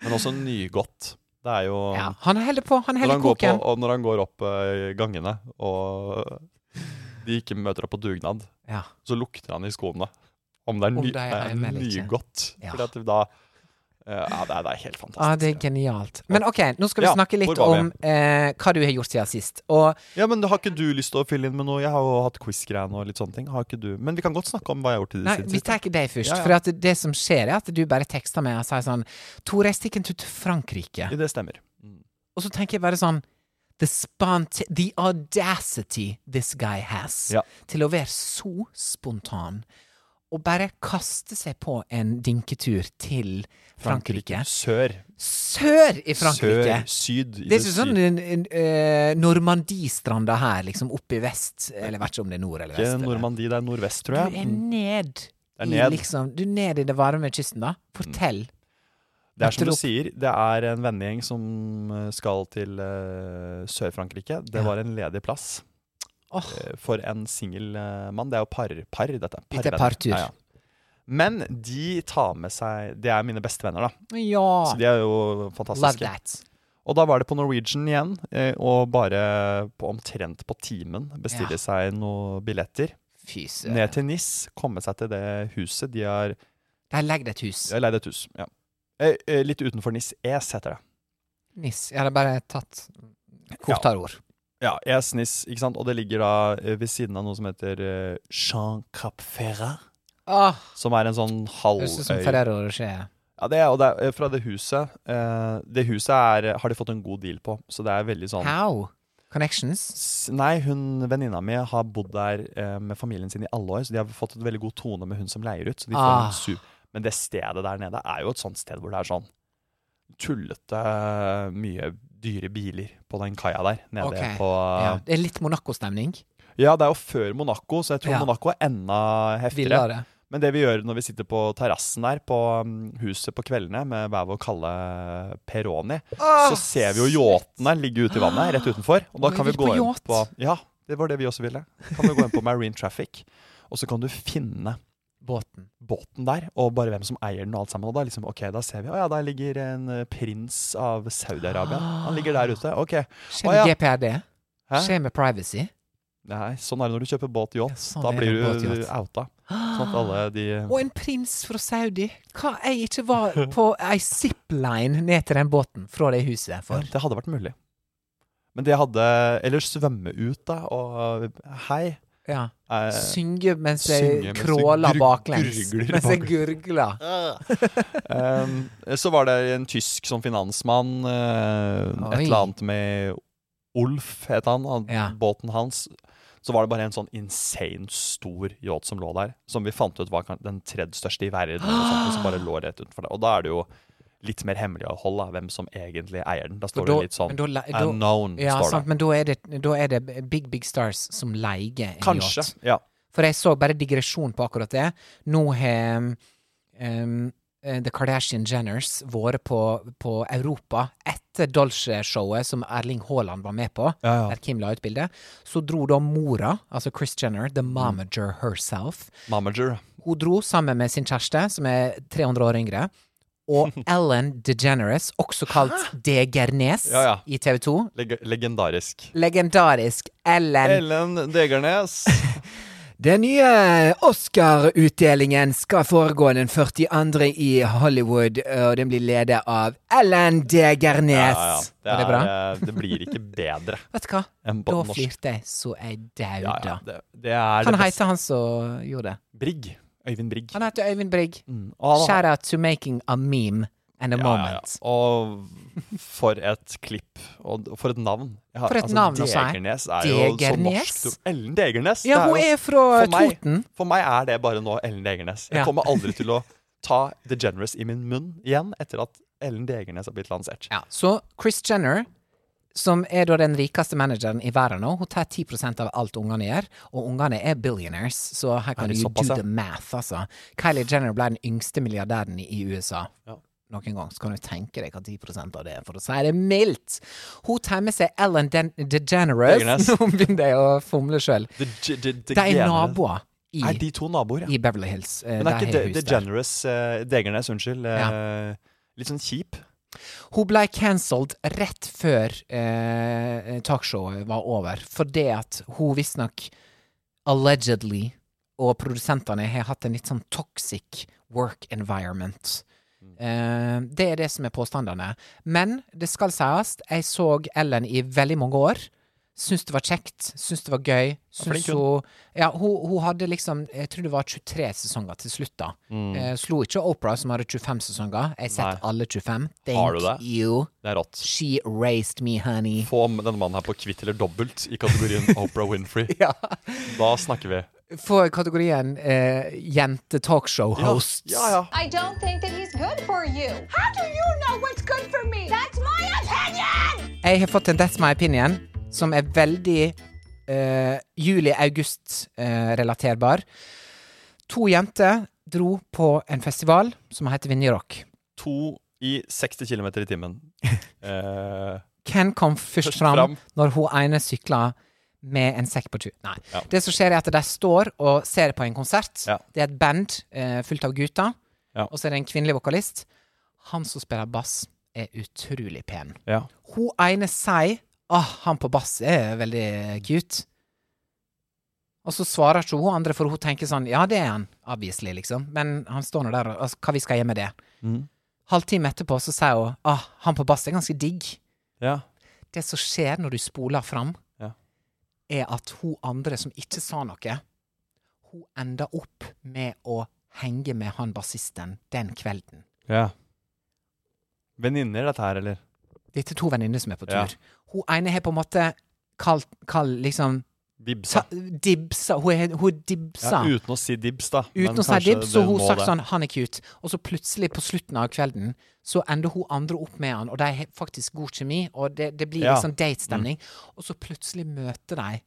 Speaker 2: Men også nygodt. Det er jo
Speaker 3: Ja, han heller på. Han
Speaker 2: når
Speaker 3: heller
Speaker 2: han, går på,
Speaker 3: koken.
Speaker 2: og når han går opp eh, gangene, og de ikke møter opp på dugnad.
Speaker 3: Ja.
Speaker 2: så lukter han i skoene. Om det er,
Speaker 3: Om
Speaker 2: ny,
Speaker 3: det er
Speaker 2: eh,
Speaker 3: eller ikke.
Speaker 2: nygodt.
Speaker 3: Ja.
Speaker 2: Fordi at det da eh, Ja, det er, det er helt fantastisk.
Speaker 3: Ja, Ah, det er genialt. Men OK, nå skal vi
Speaker 2: Ja,
Speaker 3: snakke
Speaker 2: hvor
Speaker 3: litt
Speaker 2: var vi?
Speaker 3: om eh, hva du har gjort siden sist. Og
Speaker 2: Ja, men Har ikke du lyst til å fylle inn med noe? Jeg har jo hatt quiz-greiene og litt sånne ting. Har ikke du? Men vi kan godt snakke om hva jeg har gjort i det
Speaker 3: Nei, vi
Speaker 2: siste.
Speaker 3: tar ikke deg først.
Speaker 2: Ja, ja.
Speaker 3: For at det som skjer, er at du bare tekster meg og sier sånn Tore, jeg stikker en tur til Frankrike.
Speaker 2: Det stemmer.
Speaker 3: Og så tenker jeg bare sånn The, spont the audacity this guy has
Speaker 2: Ja.
Speaker 3: til å være så spontan og bare kaste seg på en dinketur til Frankrike.
Speaker 2: Sør.
Speaker 3: Sør i Frankrike!
Speaker 2: Sør, syd. i
Speaker 3: Det er ikke sånn
Speaker 2: syd.
Speaker 3: en, en, eh, Normandiestranda her, liksom oppe i vest. Eller vet ikke om det er nord eller
Speaker 2: Ikke
Speaker 3: vest. eller-
Speaker 2: Normandie, det er nordvest,
Speaker 3: Du
Speaker 2: tror jeg.
Speaker 3: er ned,
Speaker 2: Det er
Speaker 3: i
Speaker 2: ned.
Speaker 3: liksom Du er ned i det varme kysten, da. Fortell.
Speaker 2: Det er som du
Speaker 3: Nettopp.
Speaker 2: sier, det er en vennegjeng som eh, skal til eh, Sør-Frankrike. Det
Speaker 3: Ja.
Speaker 2: var en ledig plass
Speaker 3: Åh,
Speaker 2: eh, for en singel eh, mann. Det er jo par, par dette.
Speaker 3: Dette er
Speaker 2: Parvenner.
Speaker 3: partur.
Speaker 2: Men de tar med seg Det er mine beste venner, da. Så
Speaker 3: ja!
Speaker 2: de er jo
Speaker 3: Ah. Love
Speaker 2: fantastiske.
Speaker 3: that.
Speaker 2: Og da var det på Norwegian igjen, eh, og bare på omtrent på timen bestille
Speaker 3: Ja.
Speaker 2: seg noen billetter.
Speaker 3: Fy søren.
Speaker 2: Ned til NIS, komme seg til det huset. De har
Speaker 3: Der legger det et hus.
Speaker 2: de har leid et hus. Ja. Eh, eh, Litt utenfor NIS. ES heter det.
Speaker 3: Niss. Jeg hadde bare tatt kortere ord.
Speaker 2: Ja, ES NIS, ikke sant? Og det ligger da eh, ved siden av noe som heter eh, Jean Cap Ferrat.
Speaker 3: Åh,
Speaker 2: Som er en sånn
Speaker 3: Høres ut som
Speaker 2: halvøy
Speaker 3: Ferrero Rocher.
Speaker 2: Ja, det er, og det er fra det huset. eh, det huset er, har de fått en god deal på, så det er veldig sånn
Speaker 3: How? Connections?
Speaker 2: S- Nei, hun, venninna mi har bodd der eh, med familien sin i alle år, så de har fått et veldig god tone med hun som leier ut. Så de får
Speaker 3: Ah.
Speaker 2: en super. Men det stedet der nede er jo et sånt sted hvor det er sånn tullete mye dyre biler på den kaia der nede
Speaker 3: Ok,
Speaker 2: på
Speaker 3: Ja. Det er litt Monaco-stemning.
Speaker 2: Ja, det er jo før Monaco, så jeg tror
Speaker 3: Ja.
Speaker 2: Monaco er enda heftigere.
Speaker 3: Villere.
Speaker 2: Men det vi gjør når vi sitter på terrassen der på mm, huset på kveldene med hver vår kalde Peroni,
Speaker 3: Ah,
Speaker 2: så ser vi jo yachtene ligge ute i vannet rett utenfor. Og da
Speaker 3: Oi,
Speaker 2: kan vi
Speaker 3: vi
Speaker 2: gå
Speaker 3: på
Speaker 2: inn
Speaker 3: yacht.
Speaker 2: på Ja, det var det vi også ville. Kan vi gå inn på Marine Traffic, og så kan du finne
Speaker 3: Båten.
Speaker 2: båten der, og bare hvem som eier den og alt sammen. Og da liksom, ok, da ser vi, å ja, der ligger en eh, prins av Saudi-Arabia. Han ligger der ute, ok.
Speaker 3: Skjer
Speaker 2: Å,
Speaker 3: med
Speaker 2: ja.
Speaker 3: GPRD?
Speaker 2: Hæ?
Speaker 3: Skjer med privacy?
Speaker 2: Nei, sånn er det når du kjøper båt yacht.
Speaker 3: Ja, sånn
Speaker 2: da
Speaker 3: er
Speaker 2: blir
Speaker 3: det båt
Speaker 2: du
Speaker 3: yacht.
Speaker 2: outa. Sånn at alle de
Speaker 3: Og en prins fra Saudi. Hva jeg ikke var på ei zipline ned til den båten fra det huset for.
Speaker 2: Ja, det hadde vært mulig. Men det hadde Eller svømme ut, da, og hei.
Speaker 3: Ja.
Speaker 2: eh,
Speaker 3: Synge mens
Speaker 2: synge
Speaker 3: jeg
Speaker 2: mens du
Speaker 3: kråler
Speaker 2: gurg-
Speaker 3: baklengs.
Speaker 2: gurgler
Speaker 3: Mens jeg
Speaker 2: baklengs.
Speaker 3: gurgler.
Speaker 2: em, Ehm, så var det en tysk som finansmann, eh, et
Speaker 3: Oi.
Speaker 2: eller annet med Olf, het han, han
Speaker 3: Ja.
Speaker 2: båten hans. Så var det bare en sånn insane stor yacht som lå der, som vi fant ut var kan- den tredje største i verden, og sånt, og som bare lå rett utenfor det. Og da er det jo litt mer hemmelig å holde da, hvem som egentlig eier den. Da står
Speaker 3: For da-
Speaker 2: det litt sånn
Speaker 3: men da la- da-
Speaker 2: unknown,
Speaker 3: Ja,
Speaker 2: står
Speaker 3: sant,
Speaker 2: det.
Speaker 3: men da er, det, da er det Big Big Stars som leier en
Speaker 2: Kanskje.
Speaker 3: yacht.
Speaker 2: Ja.
Speaker 3: For jeg så bare digresjon på akkurat det. Nå har ehm, um, eh, The Kardashian Jenners vært på, på Europa etter siste Dolce-showet som Erling Haaland var med på,
Speaker 2: Ja, ja.
Speaker 3: der Kim la ut bilde, så dro da mora, altså Chris Jenner,
Speaker 2: Mm.
Speaker 3: the momager herself,
Speaker 2: Mamager.
Speaker 3: hun dro sammen med sin kjæreste, som er 300 år yngre, og Ellen DeGeneres, også kalt Degernes
Speaker 2: Ja, ja.
Speaker 3: i TV 2.
Speaker 2: Leg legendarisk.
Speaker 3: Legendarisk Ellen
Speaker 2: Ellen Degernes.
Speaker 3: Den nye Oscar-utdelingen skal foregå den 42. i Hollywood, og den blir ledet av Ellen Degernes.
Speaker 2: Det,
Speaker 3: Var
Speaker 2: er,
Speaker 3: det bra?
Speaker 2: eh, det blir ikke bedre.
Speaker 3: Vet du hva?
Speaker 2: En på
Speaker 3: Da
Speaker 2: norsk.
Speaker 3: flirte jeg så jeg
Speaker 2: Ja,
Speaker 3: dauda.
Speaker 2: ja, det, det er
Speaker 3: Han
Speaker 2: det beste.
Speaker 3: heter han som gjorde det.
Speaker 2: Brigg. Øyvind Brigg.
Speaker 3: Han heter Øyvind Brigg.
Speaker 2: Mm. Og han-
Speaker 3: Shout out to making a meme and a
Speaker 2: Ja, ja, ja.
Speaker 3: moment.
Speaker 2: Og for et klipp. Og for et navn. Jeg har- altså,
Speaker 3: For et navn å si.
Speaker 2: Degernes er jo så
Speaker 3: Degernes?
Speaker 2: norsk. Ellen Degernes. det
Speaker 3: Ja, hun
Speaker 2: jo-
Speaker 3: er fra
Speaker 2: for meg-
Speaker 3: Toten.
Speaker 2: For meg er det bare nå Ellen Degernes. Jeg
Speaker 3: Ja.
Speaker 2: kommer aldri til å ta The Generous i min munn igjen etter at Ellen Degernes har blitt lansert.
Speaker 3: Ja, så Chris Jenner, som er da den rikeste manageren i verden nå, hun tar 10 av alt ungene gjør, og ungene er billionaires, så her
Speaker 2: Er
Speaker 3: kan
Speaker 2: det
Speaker 3: du jo
Speaker 2: såpass, ja?
Speaker 3: do the math, altså. Kylie Jenner ble den yngste milliardæren i USA.
Speaker 2: Ja.
Speaker 3: Noen gang så kan du tenke deg hva 10 av det er, for å si det mildt. Hun tar med seg Ellen Den DeGeneres.
Speaker 2: Degeneres.
Speaker 3: Nå begynner jeg å fumle sjøl.
Speaker 2: The, G- the, the
Speaker 3: De er
Speaker 2: Generous-
Speaker 3: naboer i,
Speaker 2: Er de to naboer, ja?
Speaker 3: i Beverly Hills. eh,
Speaker 2: Men er
Speaker 3: der
Speaker 2: ikke
Speaker 3: har
Speaker 2: The,
Speaker 3: hus
Speaker 2: the
Speaker 3: der.
Speaker 2: Generous eh, Degernes, unnskyld, eh, litt sånn kjip?
Speaker 3: Hun ble cancelled rett før eh, talkshowet var over, fordi at hun visstnok allegedly og produsentene har hatt en litt sånn toxic work environment.
Speaker 2: Mm.
Speaker 3: Eh, det er det som er påstandene. Men det skal sies, jeg så Ellen i veldig mange år. Syns det var kjekt, syns det var gøy.
Speaker 2: Flink
Speaker 3: Syns hun Ja, hun, hun hadde liksom Jeg tror det var 23 sesonger til slutt, da. Eh, slo ikke Opera, som hadde 25 sesonger. Jeg har
Speaker 2: Mm.
Speaker 3: sett
Speaker 2: Nei.
Speaker 3: alle 25. Thank
Speaker 2: Har du det?
Speaker 3: you.
Speaker 2: Det er rått.
Speaker 3: She raised me, honey.
Speaker 2: Få om denne mannen her på kvitt eller dobbelt i kategorien Oprah Winfrey.
Speaker 3: Ja.
Speaker 2: Da snakker vi.
Speaker 3: For kategorien eh,
Speaker 2: Ja,
Speaker 3: jente-talkshow-hosts.
Speaker 2: ja, ja.
Speaker 5: I don't think that he's good for you. How do you know what's good for me? That's my opinion!
Speaker 3: Jeg har fått en That's My Opinion, som er veldig eh, juli-august-relaterbar. to jenter dro på en festival som heter Vinjerock.
Speaker 2: To i 60 km i timen. Eh,
Speaker 3: Hvem kom først,
Speaker 2: Først
Speaker 3: fram,
Speaker 2: fram.
Speaker 3: når hun ene sykla med en sekk på tju? Nei.
Speaker 2: Ja.
Speaker 3: Det som skjer, er at de står og ser på en konsert.
Speaker 2: Ja.
Speaker 3: Det er et band eh, fullt av gutter,
Speaker 2: Ja.
Speaker 3: og så er det en kvinnelig vokalist. Han som spiller bass, er utrolig pen.
Speaker 2: ja.
Speaker 3: Hun ene sier Åh, han på bass er veldig cute. Og så svarer ikke hun andre, for hun tenker sånn Ja, det er han, obviously, liksom. Men han står nå der og altså, Hva vi skal gjøre med det?
Speaker 2: Mm.
Speaker 3: Halvtime etterpå så sier hun Åh, han på bass er ganske digg.
Speaker 2: ja.
Speaker 3: Det som skjer når du spoler fram,
Speaker 2: Ja.
Speaker 3: er at hun andre som ikke sa noe, hun ender opp med å henge med han bassisten den kvelden.
Speaker 2: Ja. Venninner, dette her, eller?
Speaker 3: Dette er to venninner som er på
Speaker 2: Ja.
Speaker 3: tur. Hun ene har på en måte kalt, kall, liksom
Speaker 2: Dibsa.
Speaker 3: ta, dibsa Hun, er- hun dibsa.
Speaker 2: Ja, uten å si dibs, da. Men
Speaker 3: Uten å si
Speaker 2: kanskje
Speaker 3: dibb, så
Speaker 2: det
Speaker 3: hun
Speaker 2: må
Speaker 3: sagt
Speaker 2: det.
Speaker 3: sånn 'han er cute', og så plutselig, på slutten av kvelden, så ender hun andre opp med han, og de har faktisk god kjemi, og det, det blir
Speaker 2: Ja. Mm.
Speaker 3: liksom datestemning. Og så plutselig møter de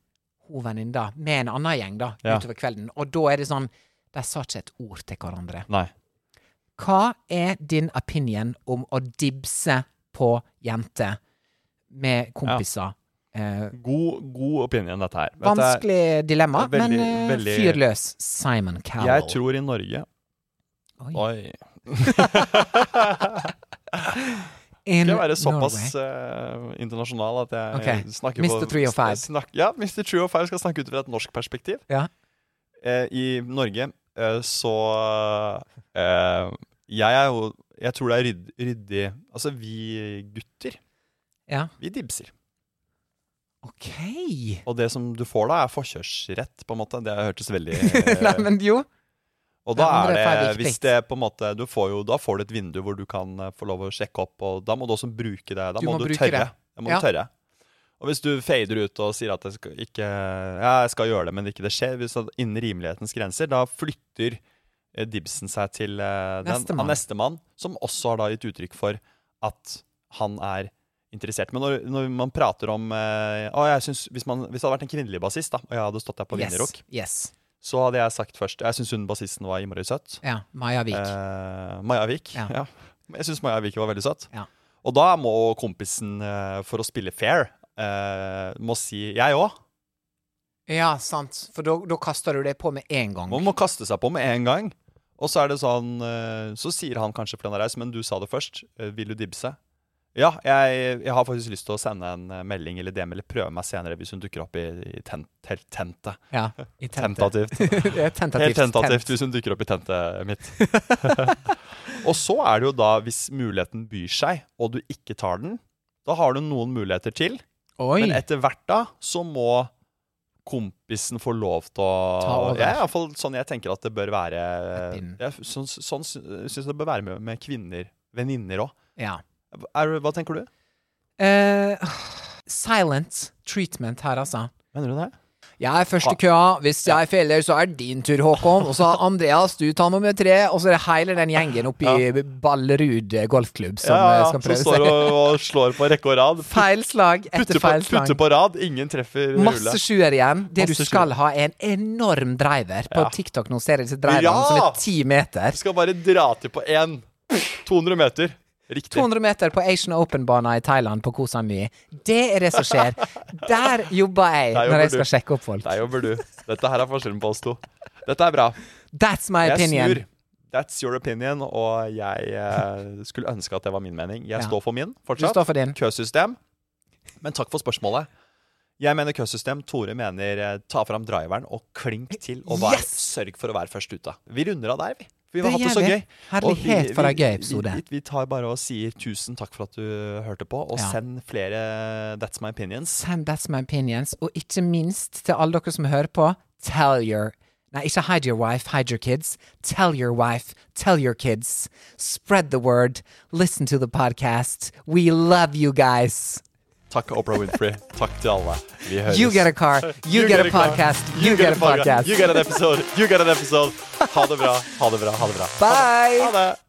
Speaker 3: hun venninna med en annen gjeng da,
Speaker 2: Ja.
Speaker 3: utover kvelden, og da er det sånn De sa ikke et ord til hverandre.
Speaker 2: Nei.
Speaker 3: Hva er din opinion om å dibse på jenter med kompiser? Eh,
Speaker 2: God, god opinion, dette her. Dette er-
Speaker 3: vanskelig dilemma,
Speaker 2: det er veldig-
Speaker 3: men eh,
Speaker 2: veldig-
Speaker 3: fyr løs. Simon Cowell.
Speaker 2: Jeg tror i Norge
Speaker 3: Oi.
Speaker 2: Oi.
Speaker 3: In
Speaker 2: Skal jeg være
Speaker 3: Norway.
Speaker 2: såpass eh, internasjonal at jeg
Speaker 3: Ok.
Speaker 2: snakker
Speaker 3: Mr.
Speaker 2: på
Speaker 3: Three of Five.
Speaker 2: Snak, ja, Mr. True of Five skal snakke ut fra et norsk perspektiv.
Speaker 3: Ja.
Speaker 2: Eh, I Norge eh, så eh, Jeg er jo Jeg tror det er rydd, ryddig Altså, vi gutter,
Speaker 3: Ja.
Speaker 2: vi dibser.
Speaker 3: Ok.
Speaker 2: Og det som du får da, er forkjørsrett, på en måte. Det hørtes veldig eh,
Speaker 3: Nei, men jo.
Speaker 2: Og da
Speaker 3: Det andre
Speaker 2: er
Speaker 3: er
Speaker 2: det,
Speaker 3: viktig.
Speaker 2: hvis det på en måte du får jo, Da får du et vindu hvor du kan eh, få lov å sjekke opp, og da må du også bruke det. Da
Speaker 3: Du
Speaker 2: må,
Speaker 3: må
Speaker 2: du
Speaker 3: bruke
Speaker 2: tørre.
Speaker 3: det.
Speaker 2: Da må
Speaker 3: Ja.
Speaker 2: du tørre. Og hvis du fader ut og sier at jeg skal, ikke, ja, jeg skal gjøre det, men ikke det skjer, hvis det er innen rimelighetens grenser, da flytter eh, dibsen seg til eh, den-
Speaker 3: Nestemann.
Speaker 2: han nestemann, som også har da gitt uttrykk for at han er interessert. Men når, når man prater om eh, å, jeg synes, hvis, man, hvis det hadde vært en kvinnelig bassist, da, og jeg hadde stått der på Vinjerock,
Speaker 3: Yes. yes.
Speaker 2: så hadde jeg sagt først Jeg syns hun bassisten var innmari søt.
Speaker 3: Ja. Maja Vik.
Speaker 2: Eh, Maja Vik.
Speaker 3: Ja.
Speaker 2: Ja. Jeg syns Maja Vik var veldig søt.
Speaker 3: Ja.
Speaker 2: Og da må kompisen, eh, for å spille fair, eh, må si 'jeg òg'.
Speaker 3: Ja, sant. For da- da kaster du det på med en gang.
Speaker 2: Man må kaste seg på med en gang. Og så er det sånn eh, Så sier han kanskje fordi han har reist, men du sa det først. eh, Vil du dibse? Ja, jeg, jeg har faktisk lyst til å sende en eh, melding eller DM eller prøve meg senere hvis hun dukker opp i, i tent, helt tentet.
Speaker 3: Ja, i tentet.
Speaker 2: Tentativt.
Speaker 3: Det er tentativt.
Speaker 2: Helt tentativt
Speaker 3: tent.
Speaker 2: hvis hun dukker opp i tentet mitt. og så er det jo da, hvis muligheten byr seg, og du ikke tar den, da har du noen muligheter til.
Speaker 3: Oi.
Speaker 2: Men etter hvert da, så må kompisen få lov til
Speaker 3: Ta
Speaker 2: å
Speaker 3: over.
Speaker 2: Ja, iallfall sånn jeg tenker at det bør være
Speaker 3: Pinnen.
Speaker 2: ja, Sånn, sånn syns jeg det bør være med, med kvinner. Venninner òg.
Speaker 3: Ja.
Speaker 2: Hva tenker du?
Speaker 3: Eh, silent treatment her, altså.
Speaker 2: Mener du det?
Speaker 3: Jeg er
Speaker 2: Ah.
Speaker 3: først i køa. Hvis jeg feller, så er det din tur, Håkon. Og så har Andreas, du tar nummer tre. Og så er det hele den gjengen oppe i Ballerud golfklubb som
Speaker 2: ja, ja,
Speaker 3: eh,
Speaker 2: ja. Som
Speaker 3: skal prøve
Speaker 2: står
Speaker 3: seg.
Speaker 2: og, og slår på rekke og rad. Putt-
Speaker 3: Feil slag etter
Speaker 2: Putter på,
Speaker 3: feil slag.
Speaker 2: putter på rad, ingen treffer
Speaker 3: Masse
Speaker 2: hullet.
Speaker 3: sjuer igjen. Det
Speaker 2: Masse
Speaker 3: du skal ha, er en enorm driver. På
Speaker 2: Ja.
Speaker 3: TikTok nå ser jeg disse driverne
Speaker 2: Ja!
Speaker 3: som er ti meter.
Speaker 2: Skal bare dra til på én. 200 meter. Riktig.
Speaker 3: 200 meter på Asian Open-bana i Thailand, på Koh Samui. Det er det som skjer. Der jobber jeg
Speaker 2: Der
Speaker 3: når jeg
Speaker 2: jobber
Speaker 3: skal sjekke opp folk.
Speaker 2: Der jobber du. Dette her er forskjellen på oss to. Dette er bra.
Speaker 3: That's my
Speaker 2: Jeg
Speaker 3: opinion.
Speaker 2: snur. That's your opinion, og jeg eh, skulle ønske at det var min mening. Jeg
Speaker 3: Ja.
Speaker 2: står for min
Speaker 3: Du
Speaker 2: fortsatt.
Speaker 3: står for din.
Speaker 2: Køsystem. Men takk for spørsmålet. Jeg mener køsystem. Tore mener eh, ta fram driveren og klink til og vær,
Speaker 3: Yes!
Speaker 2: sørg for å være først ute. Vi runder av der, vi. Vi har
Speaker 3: Det
Speaker 2: hatt det
Speaker 3: gjør
Speaker 2: så
Speaker 3: vi.
Speaker 2: gøy. Og vi-
Speaker 3: Herlighet for
Speaker 2: vi-
Speaker 3: en gøy episode.
Speaker 2: Vi, vi, vi tar bare og sier tusen takk for at du hørte på, og
Speaker 3: Ja.
Speaker 2: send flere That's My Opinions.
Speaker 3: Send that's my opinions. Og ikke minst til alle dere som hører på, tell your Nei, ikke hide your wife, hide your kids. Tell your wife, tell your kids. Spread the word. Listen to the podcast. We love you guys.
Speaker 2: Takk, Oprah Winfrey. Takk til alle. Vi høres.
Speaker 3: You get a car. You, get, a
Speaker 2: car.
Speaker 3: podcast. You, get, a
Speaker 2: pod-
Speaker 3: podcast.
Speaker 2: You get an episode. You get an episode. Ha det bra. Ha det bra. Ha det bra.
Speaker 3: Bye.
Speaker 2: Ha det.